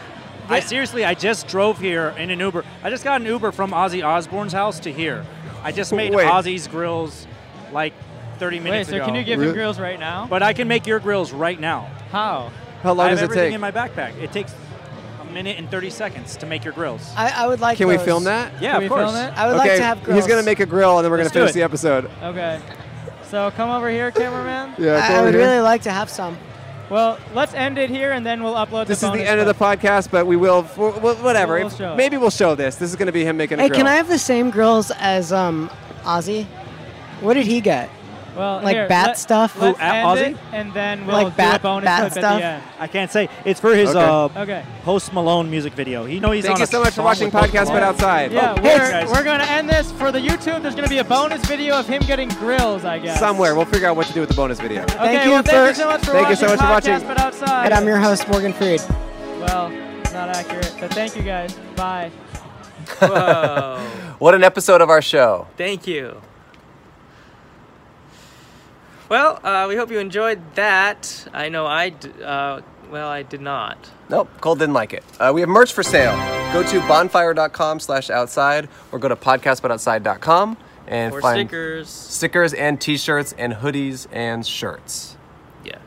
R: I seriously, I just drove here in an Uber. I just got an Uber from Ozzy Osbourne's house to here. I just made
D: Wait.
R: Ozzy's grills like 30
D: Wait,
R: minutes
D: so
R: ago.
D: can you give him grills right now?
R: But I can make your grills right now.
D: How?
B: How long
R: I have
B: does it
R: everything
B: take?
R: in my backpack. It takes a minute and 30 seconds to make your grills.
S: I, I would like.
B: Can we
S: those.
B: film that?
R: Yeah, Can of we course. film it? I would like
B: okay,
R: to have
B: He's
R: grills.
B: gonna make a grill, and then we're
R: Let's do
B: gonna finish
R: it.
B: the episode.
D: Okay. So come over here, cameraman.
B: Yeah,
S: I,
B: come
S: I
B: over
S: would
B: here.
S: really like to have some.
D: Well, let's end it here, and then we'll upload
B: This
D: the
B: is
D: bonus
B: the end of the podcast, but we will. f- w- w- Whatever.
D: We'll
B: If-
D: show it.
B: Maybe we'll show this. This is gonna be him making a
S: Hey,
B: grill.
S: can I have the same grills as um, Ozzy? What did he get?
D: Well,
S: Like
D: here,
S: bat
D: let-
S: stuff?
D: let's
S: Ooh, at
D: end
S: Ozzy?
D: it, and then we'll
S: Like
D: do a
S: bat-
D: bonus
S: bat
D: clip at
S: stuff?
D: the end.
T: I can't say. It's for his uh,
D: Okay.
T: Post Malone music video. You know he's
B: Thank
T: on
B: you
T: a
B: so much for
T: song
B: watching
T: with Post
B: Podcast But
T: Malone.
B: Outside.
D: Yeah,
T: Oh,
D: we're,
T: guys.
D: we're gonna end this for the YouTube. There's gonna be a bonus video of him getting grills, I guess.
B: Somewhere. We'll figure out what to do with the bonus video.
D: Okay,
S: Thank you
D: well, thank you
S: for-
D: so much for
B: Thank
D: watching.
B: you so much for watching.
D: Podcast But outside.
S: And I'm your host, Morgan Freed.
D: Well, it's not accurate, but thank you guys. Bye.
B: what an episode of our show.
A: Thank you. Well, uh, we hope you enjoyed that. I know I, d- uh, well, I did not.
B: Nope, Cole didn't like it. Uh, we have merch for sale. Go to bonfire.com slash outside or go to podcastbutoutside.com and
A: Or
B: find
A: stickers.
B: stickers and t-shirts and hoodies and shirts.
A: Yeah.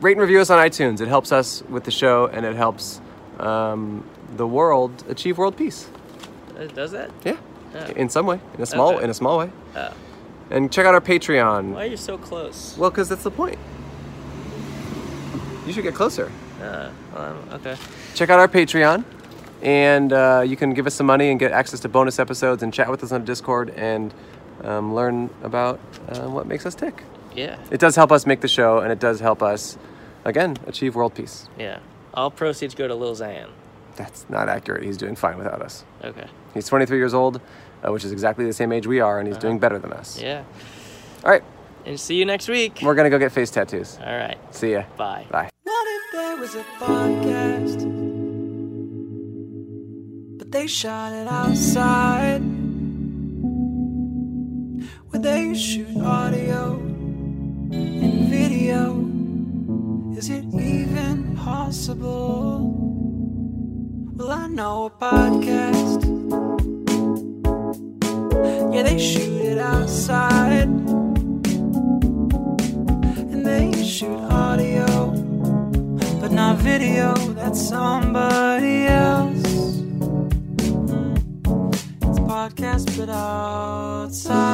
B: Rate and review us on iTunes. It helps us with the show and it helps um, the world achieve world peace
A: Uh, Does that?
B: Yeah.
A: Oh.
B: in some way, in a small,
A: Okay.
B: in a small way.
A: Oh.
B: And check out our Patreon.
A: Why are you so close?
B: Well, because that's the point. You should get closer.
A: Uh, um, okay.
B: Check out our Patreon, and uh, you can give us some money and get access to bonus episodes and chat with us on Discord and um, learn about uh, what makes us tick.
A: Yeah.
B: It does help us make the show, and it does help us, again, achieve world peace.
A: Yeah. All proceeds go to Lil Xan.
B: That's not accurate. He's doing fine without us.
A: Okay.
B: He's 23 years old, uh, which is exactly the same age we are, and he's doing better than us.
A: Yeah.
B: All right.
A: And see you next week.
B: We're gonna go get face tattoos.
A: All right.
B: See ya.
A: Bye.
B: Bye.
C: What if there was a podcast? But they shot it outside. Where they shoot audio and video. Is it even possible? Well, I know a podcast. Yeah, they shoot it outside. And they shoot audio but not video. That's somebody else. It's podcast, but outside.